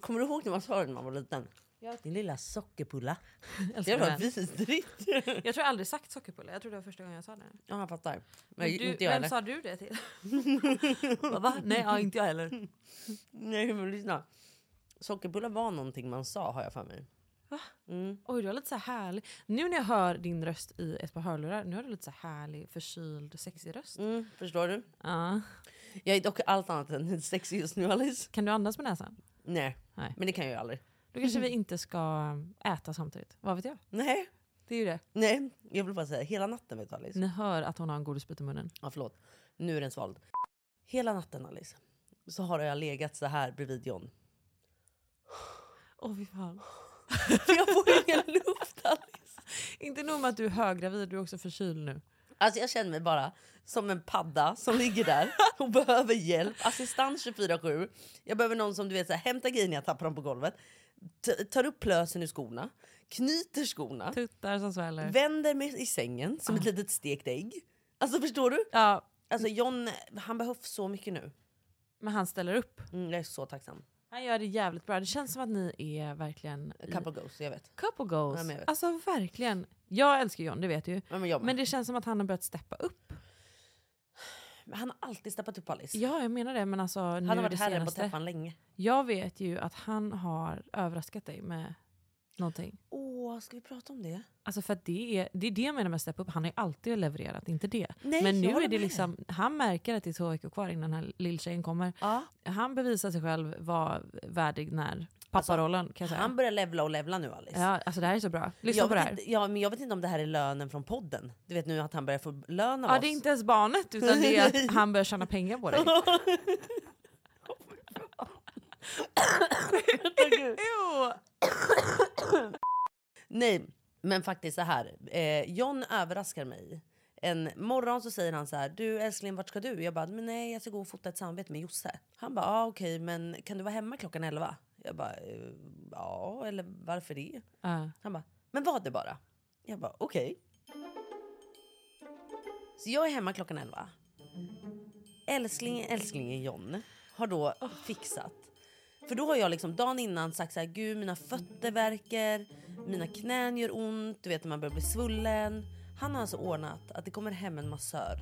Kommer du ihåg när man sa det när man var liten? Jag- Din lilla sockerpulla. Det Älskar var det. vidrigt. Jag tror jag aldrig sagt sockerpulle. Jag tror det var första gången jag sa det. Ja, jag fattar. Men Men du, inte jag vem heller. sa du det till? Bara, Va? Nej, ja, inte jag heller. Nej, men lyssna. Sockerpullar var någonting man sa, har jag för mig. Va? Mm. Oj, du har lite så här härlig... Nu när jag hör din röst i ett par hörlurar, nu har du lite så här härlig, förkyld, sexig röst. Mm, förstår du? Ja. Jag är dock allt annat än sexig just nu, Alice. Kan du andas med näsan? Nej. Nej. men det kan jag ju aldrig. Då kanske vi inte ska äta samtidigt. Vad vet jag? Nej, Det är ju det. nej. Jag vill bara säga hela natten, vet du, Alice. Ni hör att hon har en godisbit i munnen. Ja, förlåt. Nu är den svald. Hela natten, Alice, så har jag legat så här bredvid John. Åh fy fan. För jag får ingen luft, Alice. Inte nog med att du är höggravid, du är också förkyld nu. Alltså, jag känner mig bara som en padda som ligger där och behöver hjälp. Assistans 24-7. Jag behöver någon som du vet, så här, hämtar grejer när jag tappar dem på golvet. T- tar upp plösen ur skorna, knyter skorna, Tuttar som sväller. vänder mig i sängen som Ah. ett litet stekt ägg. Alltså, förstår du? Ja, Alltså, John, han behövs så mycket nu. men han ställer upp. Mm, jag är så tacksam. Han gör det jävligt bra. Det känns som att ni är verkligen i Couple goals, jag vet. couple Ja, goals. men jag vet. alltså verkligen. Jag älskar John, det vet du ju. Ja, men jag med. Men det känns som att han har börjat steppa upp. Han har alltid steppat upp Alice. Ja, jag menar det. Men alltså, nu han har det varit herren på senaste. täppan länge. Jag vet ju att han har överraskat dig med någonting. Åh, ska vi prata om det? Alltså för att det är, det är det jag menar med step up. Han har ju alltid levererat, inte det. Nej, men nu jag håller är det med. liksom, han märker att det är två veckor kvar innan den här lilltjejen kommer. Ja. Han bevisar sig själv vara värdig när papparollen kan jag säga. Alltså, Han börjar levla och levla nu Alice. Ja, alltså det här är så bra. Lyssna jag på det vet här. Inte, ja, men jag vet inte om det här är lönen från podden. Du vet nu att han börjar få lön av Ja, oss. det är inte ens barnet utan det är att han börjar tjäna pengar på dig. Jo. Nej, men faktiskt så här. Eh, John överraskar mig. En morgon så säger han så här, du älskling vart ska du? Jag bara, men nej jag ska gå och fota ett samarbete med Josse. Han bara, ah, okej men kan du vara hemma klockan 11? Jag bara, eh, ja eller varför det? Ja. Han bara, men var det bara. Jag bara, okej. Så jag är hemma klockan 11. Älsklingen, älsklingen John har då fixat. För då har jag liksom dagen innan sagt så här, gud mina fötter värker, mina knän gör ont, du vet när man börjar bli svullen. Han har alltså ordnat att det kommer hem en massör.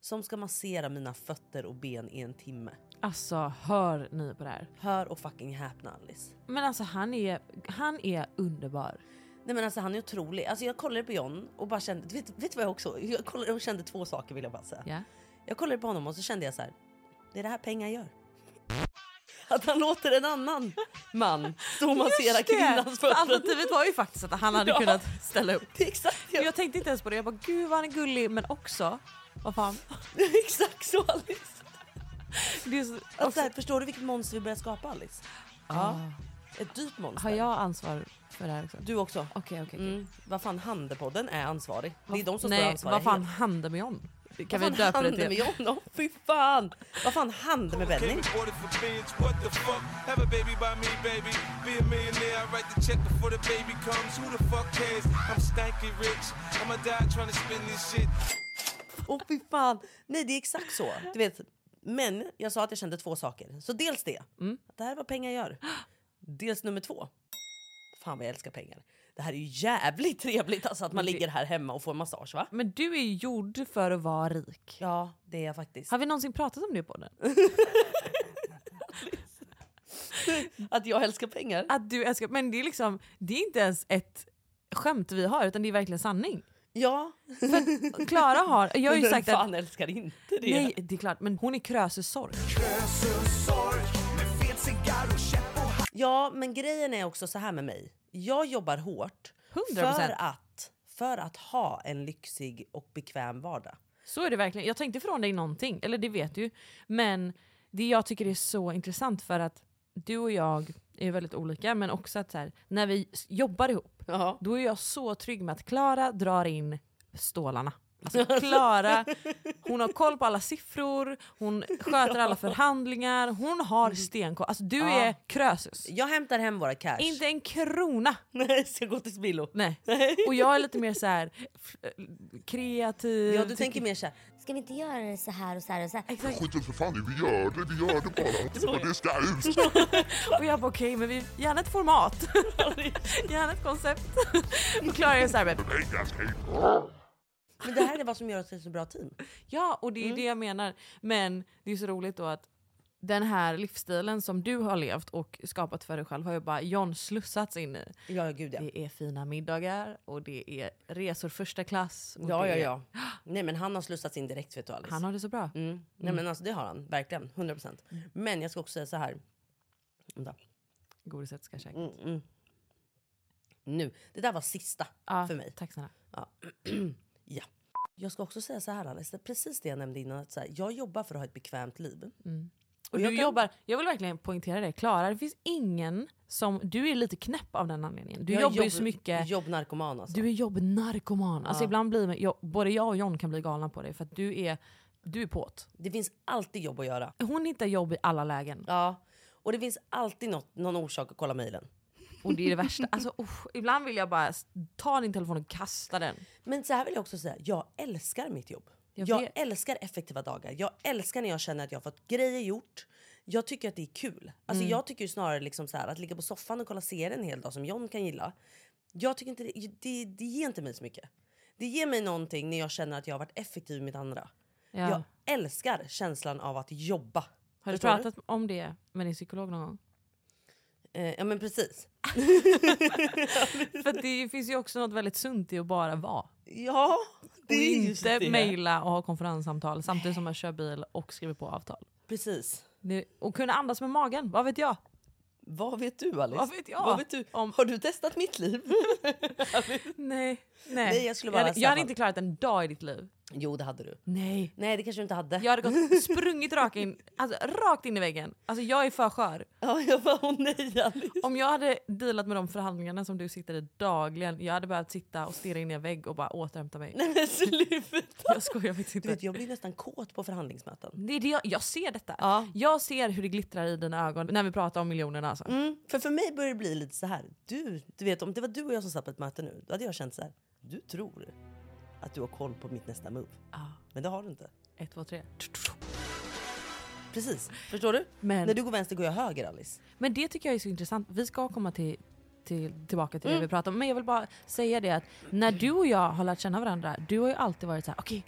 Som ska massera mina fötter och ben i en timme. Alltså hör ni på det här? Hör och fucking häpna Alice. Men alltså han är, han är underbar. Nej men alltså han är otrolig. Alltså jag kollade på John och bara kände, vet, vet du vad jag också, jag kollade och kände två saker vill jag bara säga. Ja. Jag kollade på honom och så kände jag så här, det är det här pengar gör. Att han låter en annan man stå och massera kvinnans fötter. Alternativet var ju faktiskt att han hade Ja. kunnat ställa upp. det är exakt, Men Jag tänkte inte ens på det. Jag bara gud vad han är gullig men också vad fan. det är exakt så Alice. Det är så, Att så också, här, förstår du vilket monster vi börjar skapa Alice? Alltså- ja. Ett dyrt monster. Har jag ansvar för det här också? Okej Du också. okej. okej. Mm. Vad fan, Handelpodden är ansvarig. Det är de som står Nej ansvariga. vad fan hände med John? Kan vi Vad fan döpa det hände med till? John? Åh, Fy fan! Vad fan hände med Benny? Came aborted for beans, what the fuck? Have a baby by me, baby. Be a millionaire, I write the check before the baby comes. Who the fuck cares? I'm stanky rich. I'ma die trying to spin this shit. Åh fy fan. Nej det är exakt så. Du vet. Men jag sa att jag kände två saker. Så dels det. Mm. Att det här är vad pengar gör. Dels nummer två. Fan vad jag älskar pengar. Det här är ju jävligt trevligt alltså att man Men det- ligger här hemma och får massage va? Men du är ju gjord för att vara rik. Ja det är jag faktiskt. Har vi någonsin pratat om det på den? Att jag älskar pengar. Att du älskar, men det är liksom, det är inte ens ett skämt vi har utan det är verkligen sanning. Ja. Klara har, jag har ju Vem sagt att, fan älskar inte det? nej det är klart, men hon är Krösus sorg. Ja men grejen är också så här med mig. Jag jobbar hårt. 100%. För att, för att ha en lyxig och bekväm vardag. Så är det verkligen. Jag tänkte från dig någonting, eller det vet du ju. Men det jag tycker är så intressant för att du och jag är väldigt olika men också att så här, när vi s- jobbar ihop Ja. då är jag så trygg med att Klara drar in stålarna. Alltså Klara, hon har koll på alla siffror, hon sköter alla förhandlingar, hon har stenkoll. Alltså du Ja. är krösus. Jag hämtar hem våra cash. Inte en krona! Nej, ska gå till spillo. Nej. Och jag är lite mer så här f- eh, kreativ. Typ, Ja, du tänker mer så här. Ska vi inte göra det så här och så här och så här? Exakt. Skit i det för fan i, vi gör det, vi gör det bara. Och det ska ut. Och jag bara okej, men vi, gärna ett format. gärna ett koncept. Och Klara är så här, men, Pengar ska in. Men det här är vad som gör oss till ett så bra team. ja och det är Mm. det jag menar. Men det är så roligt då att den här livsstilen som du har levt och skapat för dig själv har ju bara John slussats in i. Ja, gud ja. Det är fina middagar och det är resor första klass. Och Ja, det ja, är, ja. Nej, men han har slussats in direkt vet du Alice. Han har det så bra. Mm. Nej, men alltså, det har han verkligen. 100 procent. Mm. Men jag ska också säga så här. Vänta. Godiset ska käkas. Mm, mm. Nu. Det där var sista Ja, för mig. Tack snälla. Ja. Jag ska också säga så här Alice, det är precis det jag nämnde innan. Att så här, jag jobbar för att ha ett bekvämt liv. Och jag du kan- jobbar, jag vill verkligen poängtera det, Klara, det finns ingen som... Du är lite knäpp av den anledningen. Du jag jobbar ju jobb- så mycket. Jobbnarkoman alltså. Du är jobbnarkoman. Alltså ibland blir man, jag, både jag och John kan bli galna på dig för att du är, du är på't. Det finns alltid jobb att göra. Hon hittar jobb i alla lägen. Ja. Och det finns alltid något, någon orsak att kolla mejlen. Och det är det värsta. Alltså, usch, ibland vill jag bara s- ta din telefon och kasta den. Men så här vill jag också säga, jag älskar mitt jobb. Jag Jag, vet. älskar effektiva dagar. Jag älskar när jag känner att jag har fått grejer gjort. Jag tycker att det är kul. Alltså Mm. Jag tycker ju snarare liksom så här, att ligga på soffan och kolla serier en hel dag som John kan gilla. Jag tycker inte det, det, det ger inte mig så mycket. Det ger mig någonting när jag känner att jag har varit effektiv i mitt andra. Ja. Jag älskar känslan av att jobba. Har du Förstår pratat om det med din psykolog någon gång? Eh, ja men precis. För att det finns ju också något väldigt sunt i att bara vara. Ja, det Och är just inte det. mejla och ha konferenssamtal samtidigt som man kör bil och skriver på avtal. Precis. Det, och kunna andas med magen, vad vet jag? Vad vet du Alice? Vad vet jag? Vad vet du? Om- Har du testat mitt liv? Nej. Nej, jag skulle vara hade- jag Staffan. hade inte klarat en dag i ditt liv. jo det hade du. Nej. Nej det kanske du inte hade. Jag hade gått, sprungit rakt in, alltså, rakt in i väggen. Alltså, jag är för skör. Ja, jag bara, åh nej Alice. Om jag hade dealat med de förhandlingarna som du sitter i dagligen, jag hade behövt sitta och stirra in i en vägg och bara återhämta mig. Nej men sluta. Jag skojar faktiskt Du inte. vet, jag blir nästan kåt på förhandlingsmöten. Det är det jag, jag ser detta. Ja. Jag ser hur det glittrar i dina ögon när vi pratar om miljonerna. Alltså. Mm, för för mig börjar det bli lite så här. Du, du vet, om det var du och jag som satt på ett möte nu, då hade jag känt så här. Du tror att du har koll på mitt nästa move. Ja. Men det har du inte. Ett, två, tre. Precis. Förstår du? Men- När du går vänster går jag höger Alice. Men det tycker jag är så intressant. Vi ska komma till, till, tillbaka Mm. till det vi pratade om. Men jag vill bara säga det att när du och jag har lärt känna varandra, du har ju alltid varit så här, okej,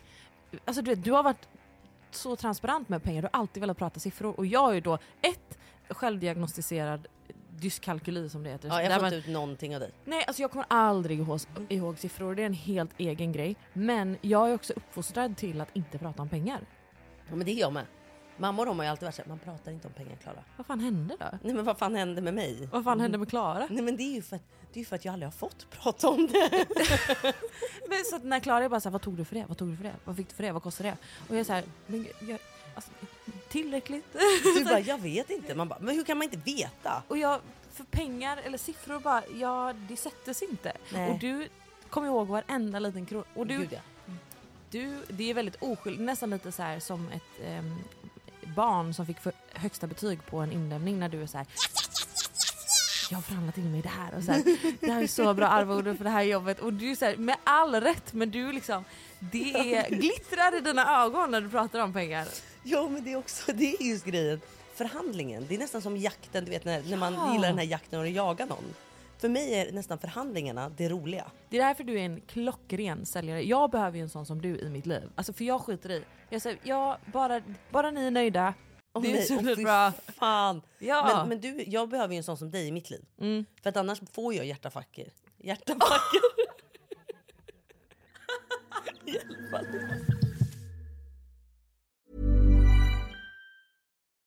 alltså du, vet, du har varit så transparent med pengar, du har alltid velat prata siffror. Och jag är ju då ett självdiagnostiserad dyskalkyli som det heter. Ja, jag Där har man- fått ut någonting av dig. Nej, alltså jag kommer aldrig ihåg, ihåg siffror. Det är en helt egen grej. Men jag är också uppfostrad till att inte prata om pengar. Ja, men det är jag med. Mamma och de har ju alltid varit så här, man pratar inte om pengar Klara. Vad fan hände då? Nej men vad fan hände med mig? Vad fan hände med Klara? Nej men det är ju för att, det är ju för att jag aldrig har fått prata om det. Men så att när Klara är bara såhär, vad tog du för det? Vad tog du för det? Vad fick du för det? Vad kostade det? Och jag är såhär, men gud, jag, alltså, tillräckligt. Du bara, jag vet inte. Man bara, men hur kan man inte veta? Och jag, för pengar eller siffror bara, ja det sättes inte. Nej. Och du kommer ihåg varenda liten krona. Och du, Gud, ja. du, det är väldigt oskyldigt, nästan lite så här som ett ehm, barn som fick för högsta betyg på en inlämning när du är så här. Jag har förhandlat in mig i det här och så här, det här är så bra arvode för det här jobbet och du är så här, med all rätt men du liksom det är, glittrar i dina ögon när du pratar om pengar. Ja, men det är också det är just grejen. Förhandlingen, det är nästan som jakten, du vet när, när man Ja. gillar den här jakten och jagar någon. För mig är nästan förhandlingarna det roliga. Det är därför du är en klockren säljare. Jag behöver ju en sån som du i mitt liv. Alltså för jag skiter i. Jag säger ja bara, bara ni är nöjda. Åh, det är nej, åh, så fy bra. Fan. Ja. Men, men du, jag behöver ju en sån som dig i mitt liv. För att annars får jag hjärtafacker. Hjärtafacker. Hjälp, Alice.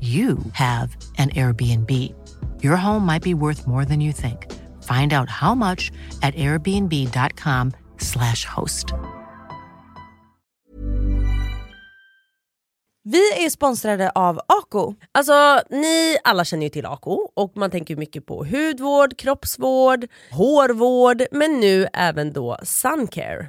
you have an Airbnb. Your home might be worth more than you think. Find out how much at airbnb.com/slash host. Vi är sponsrade av Ako. Alltså ni alla känner ju till Ako och man tänker ju mycket på hudvård, kroppsvård, hårvård men nu även då suncare.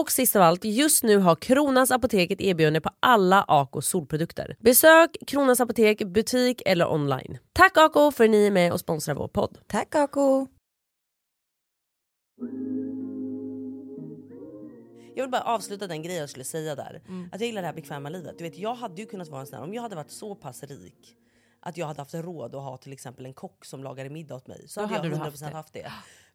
Och sist av allt, just nu har Kronans Apotek ett erbjudande på alla Ako solprodukter. Besök Kronans Apotek, butik eller online. Tack Ako för att ni är med och sponsrar vår podd. Tack Ako! Jag vill bara avsluta den grejen jag skulle säga där. Mm. Att jag gillar det här bekväma livet. Du vet, jag hade ju kunnat vara en sån här, om jag hade varit så pass rik att jag hade haft råd att ha till exempel en kock som lagade middag åt mig. Så hade, hade jag du 100% haft haft det.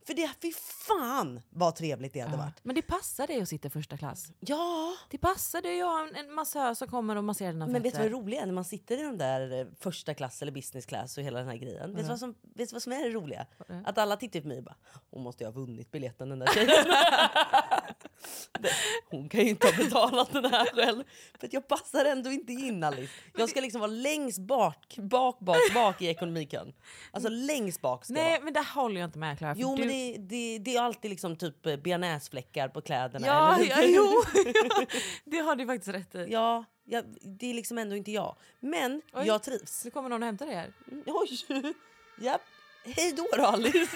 För det, fy fan vad trevligt det hade varit. Men det passar dig att sitta i första klass. Ja! Det passar dig att ha en, en massör som kommer och masserar dina Men vet du vad det roliga är när man sitter i de där eh, första klass eller business class och hela den här grejen. Vet Mm. du vad som, vet du vad som är det roliga? Att alla tittar på mig och bara “Hon måste ju ha vunnit biljetten den där tjejen”. Det- Hon kan ju inte ha betalat den här själv. För att jag passar ändå inte in Alice. Jag ska liksom vara längst bak, bak, bak, bak i ekonomikön. Alltså längst bak ska jag Mm. Nej vara. men det håller jag inte med Klara. för Jo du- men det, det, det är alltid liksom typ eh, bearnaisefläckar på kläderna. Ja, eller- ja jo. det har du faktiskt rätt i. Ja, jag, det är liksom ändå inte jag. Men Oj. jag trivs. Nu kommer någon och hämtar dig här. Oj! Japp. Hej då, då Alice!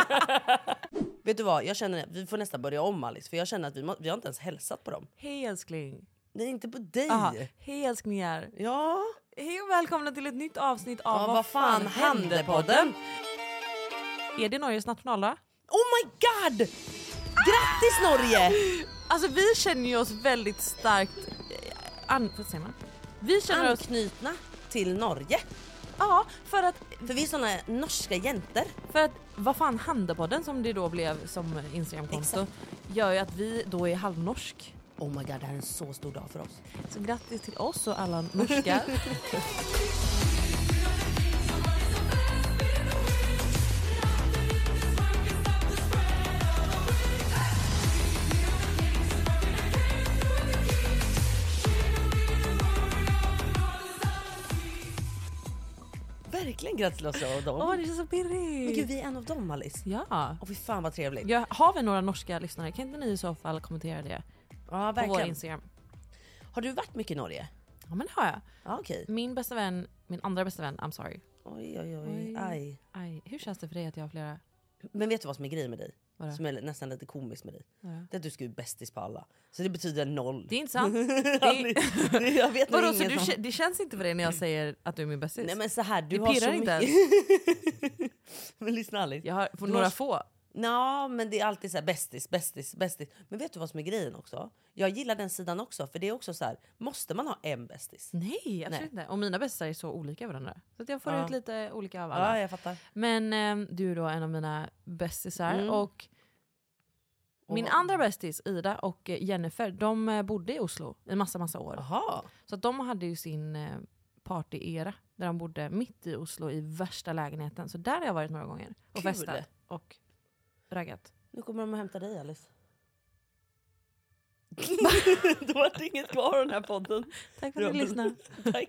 Vet du vad, jag känner att vi får nästan börja om Alice för jag känner att vi, må, vi har inte ens hälsat på dem. Hej älskling. Nej, inte på dig! Aha. Hej älsklingar. Ja, Hej och välkomna till ett nytt avsnitt av ja vad fan hände podden? Är det Norges nationaldag? Oh my god! Grattis Norge! Alltså vi känner ju oss väldigt starkt... eh, An... Vad säger man? Vi Ah! känner oss... Anknutna till Norge. Ja, för att... För vi är såna norska jenter. För att vad fan hände podden som det då blev som Instagramkonto Exakt. gör ju att vi då är halvnorsk. oh my god det här är en så stor dag för oss. Så grattis till oss och alla norskar. Verkligen grattis till oss och dem. Åh, det känns så pirrigt. Men gud vi är en av dem Alice. Ja. Och fy fan vad trevligt. Ja, har vi några norska lyssnare? Kan inte ni i så fall kommentera det? Ja, På vår verkligen. Instagram. Har du varit mycket i Norge? Ja men det har jag. Ja, okej. Min bästa vän, min andra bästa vän, I'm sorry. Oj, oj, oj. Aj. aj. Hur känns det för dig att jag har flera? Men vet du vad som är grejen med dig? Vadå? Som är nästan lite komiskt med dig. Vadå? Det är att du ska ju bästis på alla. Så det betyder noll. Det är inte sant. Alice, det- jag vet nog Vadå, så ingen du, som- kä- det känns inte för dig när jag säger att du är min bästis? Nej men så här, du det har pirrar så inte mycket... ens. men lyssna Alice. Jag har fått Du några har- få. Ja, men det är alltid så här bästis, bästis, bästis. Men vet du vad som är grejen också? Jag gillar den sidan också, för det är också så här, måste man ha en bästis? Mm, Nej, absolut inte. Och mina bästisar är så olika varandra. Så att jag får Ja. ut lite olika av alla. Ja, jag fattar. Men ehm, du är då en av mina bästisar. Mm. Och min Och- andra bästis, Ida och eh, Jennifer, de eh, bodde i Oslo i massa, massa år. Så att de hade ju sin eh, party-era där de bodde mitt i Oslo i värsta lägenheten. Så där har jag varit några gånger och Kul. festat och raggat. Nu kommer de och hämtar dig Alice. Då var det inget kvar av den här podden. Tack för att ni lyssnade.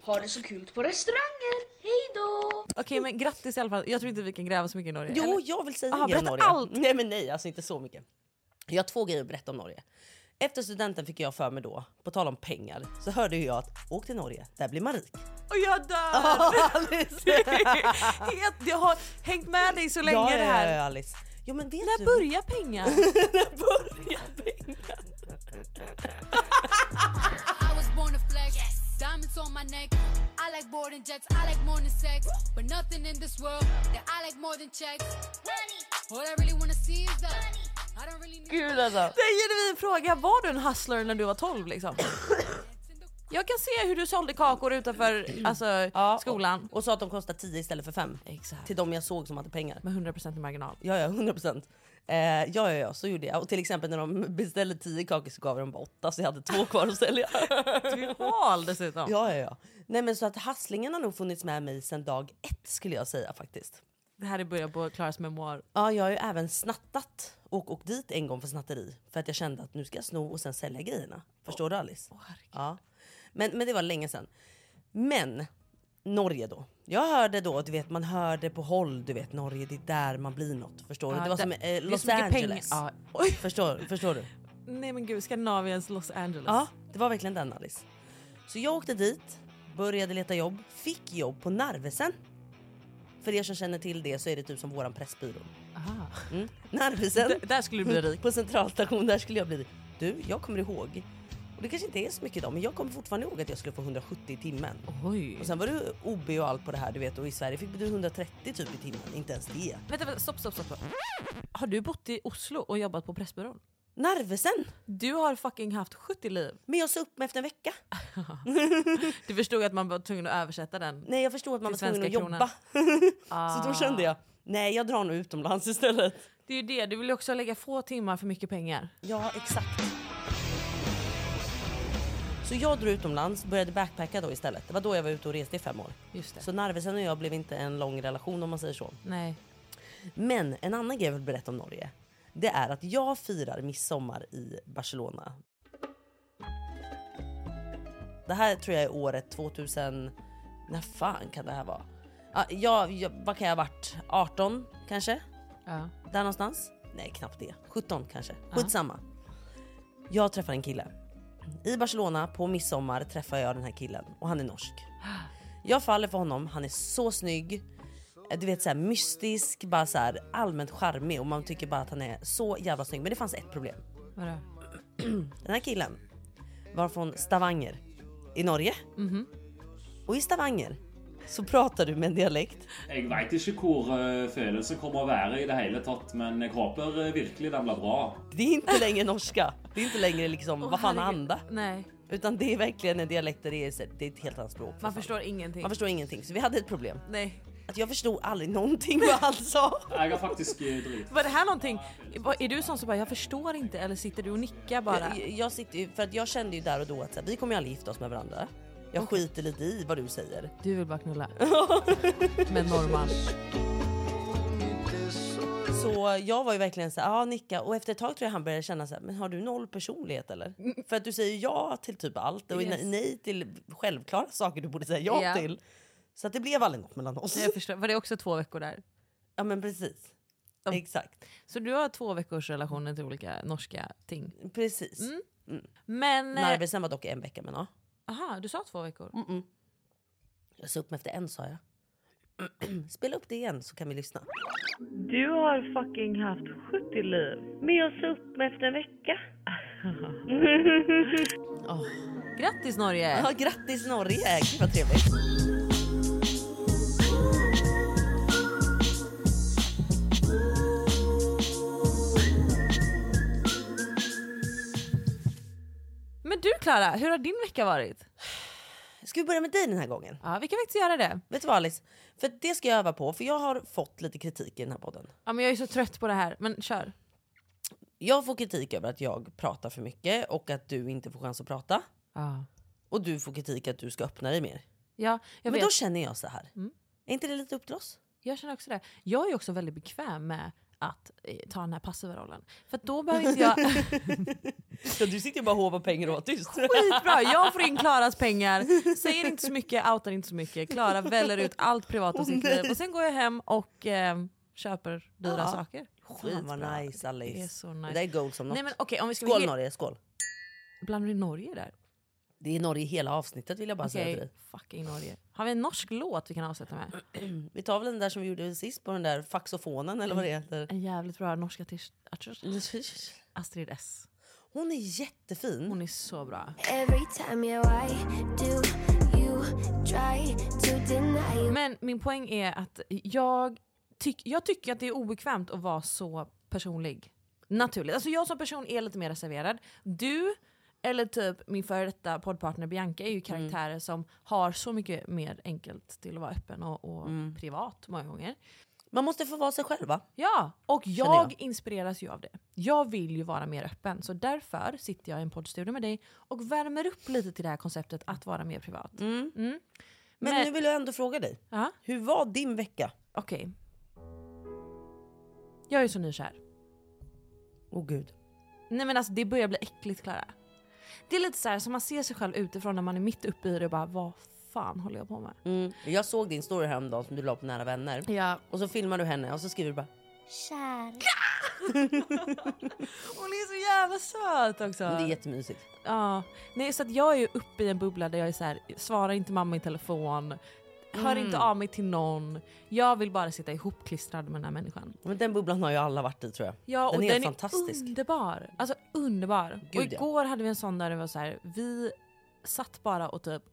Ha det så kul på restauranger. Hej då! Okej, men grattis i alla fall. Jag tror inte vi kan gräva så mycket i Norge. Jo, eller? jag vill säga Aha, grejer om berätta Norge. allt! Nej, men nej, alltså inte så mycket. Jag har två grejer att berätta om Norge. Efter studenten fick jag för mig då, på tal om pengar, så hörde ju jag att åk till Norge, där blir man rik. Och jag dör! Helt- jag har hängt med dig så länge ja, det Ja, ja, här. Alice. Ja, men vet När du- börjar pengar? I was born to flex. Diamonds on my neck. I like boarding jets. I like more than sex. But nothing in this world that I like more than checks. All I really wanna see is the I don't really need Gud alltså. Det är en genuin fråga. Var du en hustler när du var 12 liksom? Jag kan se hur du sålde kakor utanför alltså, skolan. Och sa att de kostar 10 istället för 5. Exakt. Till de jag såg som hade pengar. Med 100% i marginal. Ja, ja, 100 procent. Eh, ja, ja, ja, så gjorde jag. Och till exempel när de beställde 10 kakor så gav de bara 8 så jag hade två kvar att sälja. Tvål dessutom. Ja, ja, ja. Nej, men så att hasslingen har nog funnits med mig sedan dag ett skulle jag säga faktiskt. Det här är början på Klaras memoar. Ja, jag har ju även snattat och åkt dit en gång för snatteri för att jag kände att nu ska jag sno och sen sälja grejerna. Förstår du Alice? ja. men, men det var länge sedan. Men Norge då. Jag hörde då, du vet man hörde på håll, du vet Norge det är där man blir något. Förstår du? Ja, Det var där- som det är eh, så Los mycket pengar. Angeles. Ja. Förstår, förstår du? Nej men gud, Skandinaviens Los Angeles. Ja, det var verkligen den Alice. Så jag åkte dit, började leta jobb, fick jobb på Narvesen. För er som känner till det så är det typ som våran pressbyrå. Aha. Mm. Narvesen. D- där skulle du bli rik. På centralstation, där skulle jag bli rik. Du, jag kommer ihåg. Och det kanske inte är så mycket idag, men jag kommer fortfarande ihåg att jag skulle få 170 i timmen. Oj. Och sen var det OB och allt på det här, du vet. Och i Sverige fick du 130 typ i timmen. Inte ens det. Vänta, vänta, stopp, stopp, stopp. stopp. Har du bott i Oslo och jobbat på Pressbyrån? Narvesen! Du har fucking haft 70 liv. Men jag sa upp mig efter en vecka. Du förstod att man var tvungen att översätta den. Nej, jag förstod att man till var tvungen svenska att jobba. Så då kände jag, nej jag drar nog utomlands istället. Det är ju det, du vill ju också lägga få timmar för mycket pengar. Ja, exakt. Så jag drog utomlands, började backpacka då istället. Det var då jag var ute och reste i fem år. Just det. Så Narvesen och jag blev inte en lång relation om man säger så. Nej. Men en annan grej jag vill berätta om Norge. Det är att jag firar midsommar i Barcelona. Det här tror jag är året 2000... När fan kan det här vara? Ja, jag, jag, vad kan jag ha varit? 18 kanske? Ja. Där någonstans? Nej, knappt det. 17 kanske. Skitsamma. Jag träffar en kille. I Barcelona på midsommar träffar jag den här killen och han är norsk. Jag faller för honom, han är så snygg. Eh, Du vet såhär mystisk, bara såhär allmänt charmig och man tycker bara att han är så jävla snygg. Men det fanns ett problem. Vadå? Den här killen var från Stavanger i Norge. Mhm. Och i Stavanger så pratar du med en dialekt Jeg veit ikke hvor eh, følelsen kommer å være i det hele tatt, men jeg håper eh, virkelig den blir bra. Det är inte längre norska. Det är inte längre liksom Åh, vad fan herregud. anda. Nej. Utan det är verkligen en dialekt där det är, det är ett helt annat språk. för Man fan. förstår ingenting. Man förstår ingenting. Så vi hade ett problem. Nej. Att jag förstod aldrig någonting vad han sa. Nej, jag faktiskt drit. Var det här någonting, var- är du sån som bara jag förstår inte eller sitter du och nickar bara? Jag, jag sitter ju, för att jag kände ju där och då att så här, vi kommer ju aldrig gifta oss med varandra. Jag skiter lite i vad du säger. Du vill bara knulla. Med norrman. Så jag var ju verkligen så här, ja nicka. Och efter ett tag tror jag han började känna så här, men har du noll personlighet eller? För att du säger ja till typ allt och Mm. Yes. nej till självklara saker du borde säga ja Ja. till. Så att det blev aldrig något mellan oss. Jag förstår. Var det också två veckor där? Ja men precis. Exakt. Så du har två veckors relationer till olika norska ting? Precis. Mm. Men... eh, Narvesen var dock en vecka men ja. Aha, du sa två veckor? Mm. Jag sa upp mig efter en sa jag. Spela upp det igen så kan vi lyssna. Du har fucking haft 70 liv. Men jag sa upp mig efter en vecka. Grattis Norge! Ja, grattis Norge! Gud vad trevligt. Men du Klara, hur har din vecka varit? Ska vi börja med dig den här gången? Ja, vi kan faktiskt göra det. Vet du vad Alice? För det ska jag öva på, för jag har fått lite kritik i den här podden. Ja, men jag är så trött på det här, men kör. Jag får kritik över att jag pratar för mycket och att du inte får chans att prata. Ja. Och du får kritik att du ska öppna dig mer. Ja, jag Men vet. då känner jag så här. Mm. Är inte det lite upp till oss? Jag känner också det. Jag är också väldigt bekväm med att eh, ta den här passiva rollen. För att då behöver inte jag... Ja, du sitter ju bara och hovar pengar och har tyst. Skitbra! Jag får in Klaras pengar, säger inte så mycket, outar inte så mycket. Klara väller ut allt privat och Åh, sitt nej. liv. Och sen går jag hem och eh, köper dyra Ja. saker. Skit vad nice Alice. Det är så Det nice. där är gold som något. Nej, men okej, om vi ska- skål he- Norge, skål. Blandar du Norge där? Det är Norge i hela avsnittet vill jag bara säga Okej, till dig. fucking Norge. Har vi en norsk låt vi kan avsluta med? Vi tar väl den där som vi gjorde sist på den där faxofonen eller vad det heter. En jävligt bra norsk artist. artist- Astrid S. Hon är jättefin. Hon är så bra. Every time you I do, you try to deny you. Men min poäng är att jag, tyck, jag tycker att det är obekvämt att vara så personlig. Naturligt. Alltså jag som person är lite mer reserverad. Du, eller typ min före detta poddpartner Bianca är ju karaktärer Mm. som har så mycket mer enkelt till att vara öppen och, och Mm. privat många gånger. Man måste få vara sig själv va? Ja, och Känner jag, jag. inspireras ju av det. Jag vill ju vara mer öppen, så därför sitter jag i en poddstudio med dig och värmer upp lite till det här konceptet att vara mer privat. Mm. Men, nu vill jag ändå fråga dig. Hur var din vecka? Okej. Jag är så nykär. Åh gud. Nej men alltså det börjar bli äckligt Klara. Det är lite så här som man ser sig själv utifrån när man är mitt uppe i det och bara vad fan håller jag på med? Mm. Jag såg din story häromdagen som du la på nära vänner. Ja. Och så filmar du henne och så skriver du bara Kär. Hon är så jävla söt också. "Men det är jättemysigt. Ja, nej så att jag är ju uppe i en bubbla där jag är så här, svarar inte mamma i telefon, hör Mm. inte av mig till någon. Jag vill bara sitta ihopklistrad med den här människan. Men den bubblan har ju alla varit i tror jag. Ja, den och är den helt fantastisk. är underbar. Alltså underbar. och Gud, ja. igår hade vi en sån där det var så här, vi satt bara och typ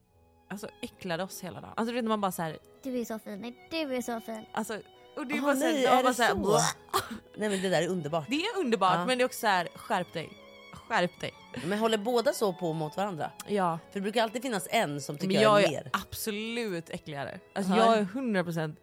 alltså, äcklade oss hela dagen. Alltså du vet när man bara så här, Du är så fin. Nej, du är så fin. Alltså, och det är Aha, bara så här, nej, jag är bara det så här, så? Nej men det där är underbart. Det är underbart Ja. men det är också så här, skärp dig. Skärp dig. Men håller båda så på mot varandra? Ja. För det brukar alltid finnas en som tycker Men jag jag är är mer. absolut äckligare. Alltså Ja. jag är 100 procent...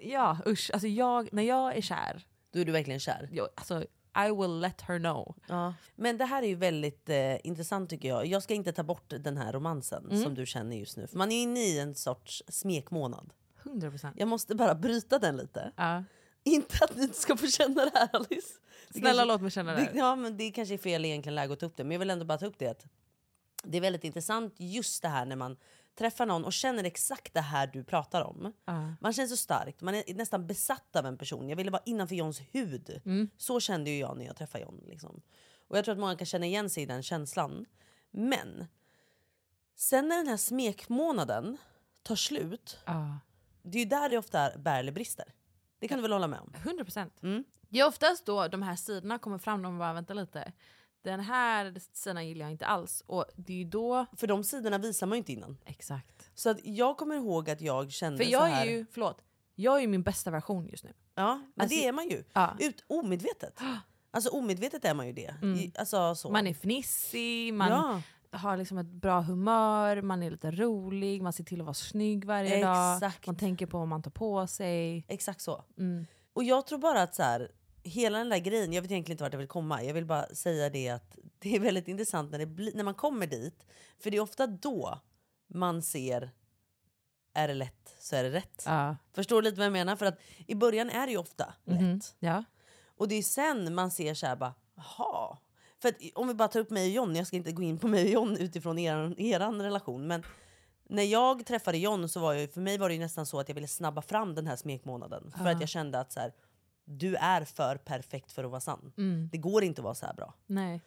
Ja usch. Alltså jag, när jag är kär. Då är du verkligen kär. Jag, alltså I will let her know. Ja. Men det här är ju väldigt eh, intressant tycker jag. Jag ska inte ta bort den här romansen Mm. som du känner just nu. För man är inne i en sorts smekmånad. 100 procent. Jag måste bara bryta den lite. Ja. Inte att ni inte ska få känna det här Alice. Det Snälla låt mig känna det här. Ja men det kanske är fel egentligen läge att ta upp det. Men jag vill ändå bara ta upp det. Att det är väldigt intressant just det här när man träffar någon och känner exakt det här du pratar om. Ja. Man känner så starkt, man är nästan besatt av en person. Jag ville vara innanför Johns hud. Mm. Så kände ju jag när jag träffade John. Liksom. Och jag tror att många kan känna igen sig i den känslan. Men sen när den här smekmånaden tar slut, det är ju där det ofta bär eller brister. Det kan du väl hålla med om? 100 procent. Mm. Det är oftast då de här sidorna kommer fram och man bara vänta lite. Den här sidan gillar jag inte alls. Och det är ju då... För de sidorna visar man ju inte innan. Exakt. Så att jag kommer ihåg att jag kände För jag så här. är ju, förlåt, jag är ju min bästa version just nu. Ja, men Alltså- det är man ju. Ja. Mm. Ut, omedvetet. Alltså omedvetet är man ju det. I- Alltså, så. Man är fnissig, man Ja. har liksom ett bra humör, man är lite rolig, man ser till att vara snygg varje dag. Exakt. Man tänker på vad man tar på sig. Exakt så. Mm. Och jag tror bara att så här, hela den där grejen, jag vet egentligen inte vart jag vill komma. Jag vill bara säga det att det är väldigt intressant när, det blir- när man kommer dit. För det är ofta då man ser, är det lätt så är det rätt. Förstår du lite vad jag menar? För att i början är det ju ofta lätt. Mm-hmm. Ja. Och det är sen man ser så här bara, jaha. För att om vi bara tar upp mig och John, jag ska inte gå in på mig och John utifrån er, eran relation. Men när jag träffade John så var jag, för mig var det ju nästan så att jag ville snabba fram den här smekmånaden. För Ja. att jag kände att så här, du är för perfekt för att vara sann. Mm. Det går inte att vara så här bra. Nej.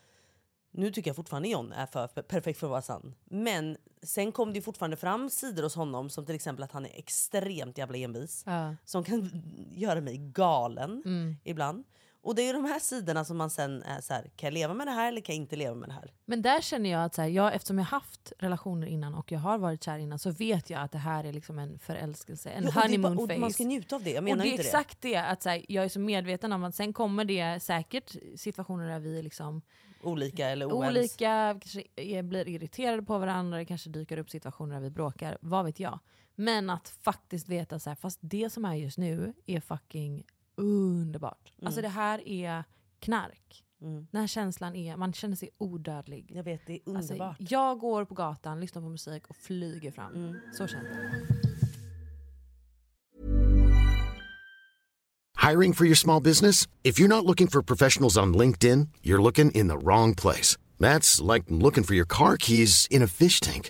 Nu tycker jag fortfarande John är för per- perfekt för att vara sann. Men sen kom det ju fortfarande fram sidor hos honom som till exempel att han är extremt jävla envis. Ja. Som kan göra mig galen Mm. ibland. Och det är ju de här sidorna som man sen är så här, kan jag leva med det här eller kan jag inte leva med det här? Men där känner jag att så här, jag, eftersom jag haft relationer innan och jag har varit kär innan så vet jag att det här är liksom en förälskelse, en Ja, och det är honeymoon bara- och phase. man ska njuta av det, jag menar och det är inte det. exakt det. att så här, jag är så medveten om att sen kommer det säkert situationer där vi är liksom Olika eller oense. olika, vi kanske är, blir irriterade på varandra, det kanske dyker upp situationer där vi bråkar, vad vet jag. Men att faktiskt veta så här, fast det som är just nu är fucking underbart. Mm. Alltså det här är knark. Mm. Den här känslan är, man känner sig odödlig. Jag vet, det är underbart. Mm. Alltså, jag går på gatan, lyssnar på musik och flyger fram. Så känns det. Hiring for your small business? If you're not looking for professionals on LinkedIn, you're looking in the wrong place. That's like looking for your car keys in a fish tank.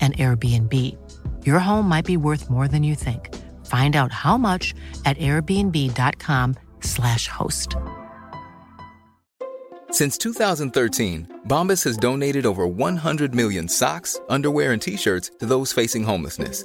an Airbnb. Your home might be worth more than you think. Find out how much at airbnb.com/slash host. Since 2013, Bombas has donated over 100 million socks, underwear, and t shirts to those facing homelessness.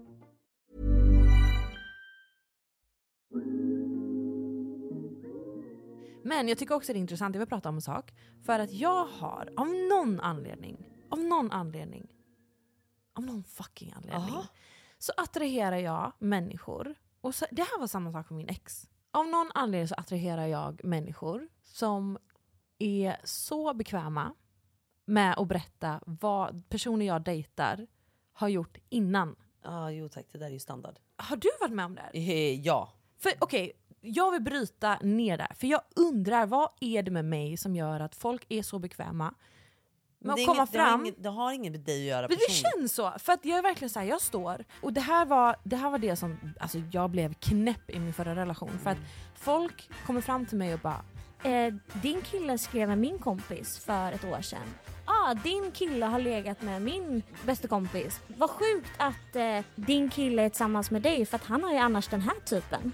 Men jag tycker också det är intressant, jag vill prata om en sak. För att jag har av någon anledning, av någon anledning, av någon fucking anledning, så attraherar jag människor. Och så, det här var samma sak med min ex. Av någon anledning så attraherar jag människor som är så bekväma med att berätta vad personer jag dejtar har gjort innan. Ah, jo tack, det där är ju standard. Har du varit med om det här? Eh, Ja. För okej, jag vill bryta ner där. För jag undrar, vad är det med mig som gör att folk är så bekväma med Men det, att är komma inget, det, har fram? inget, det har inget med dig att göra Men det personligen. känns så. För att jag är verkligen så här, jag står. Och det här var det, här var det som, alltså jag blev knäpp i min förra relation. För att folk kommer fram till mig och bara, Eh, din kille skrev med min kompis för ett år sedan. Ah, din kille har legat med min bästa kompis. Vad sjukt att eh, din kille är tillsammans med dig för att han har ju annars den här typen.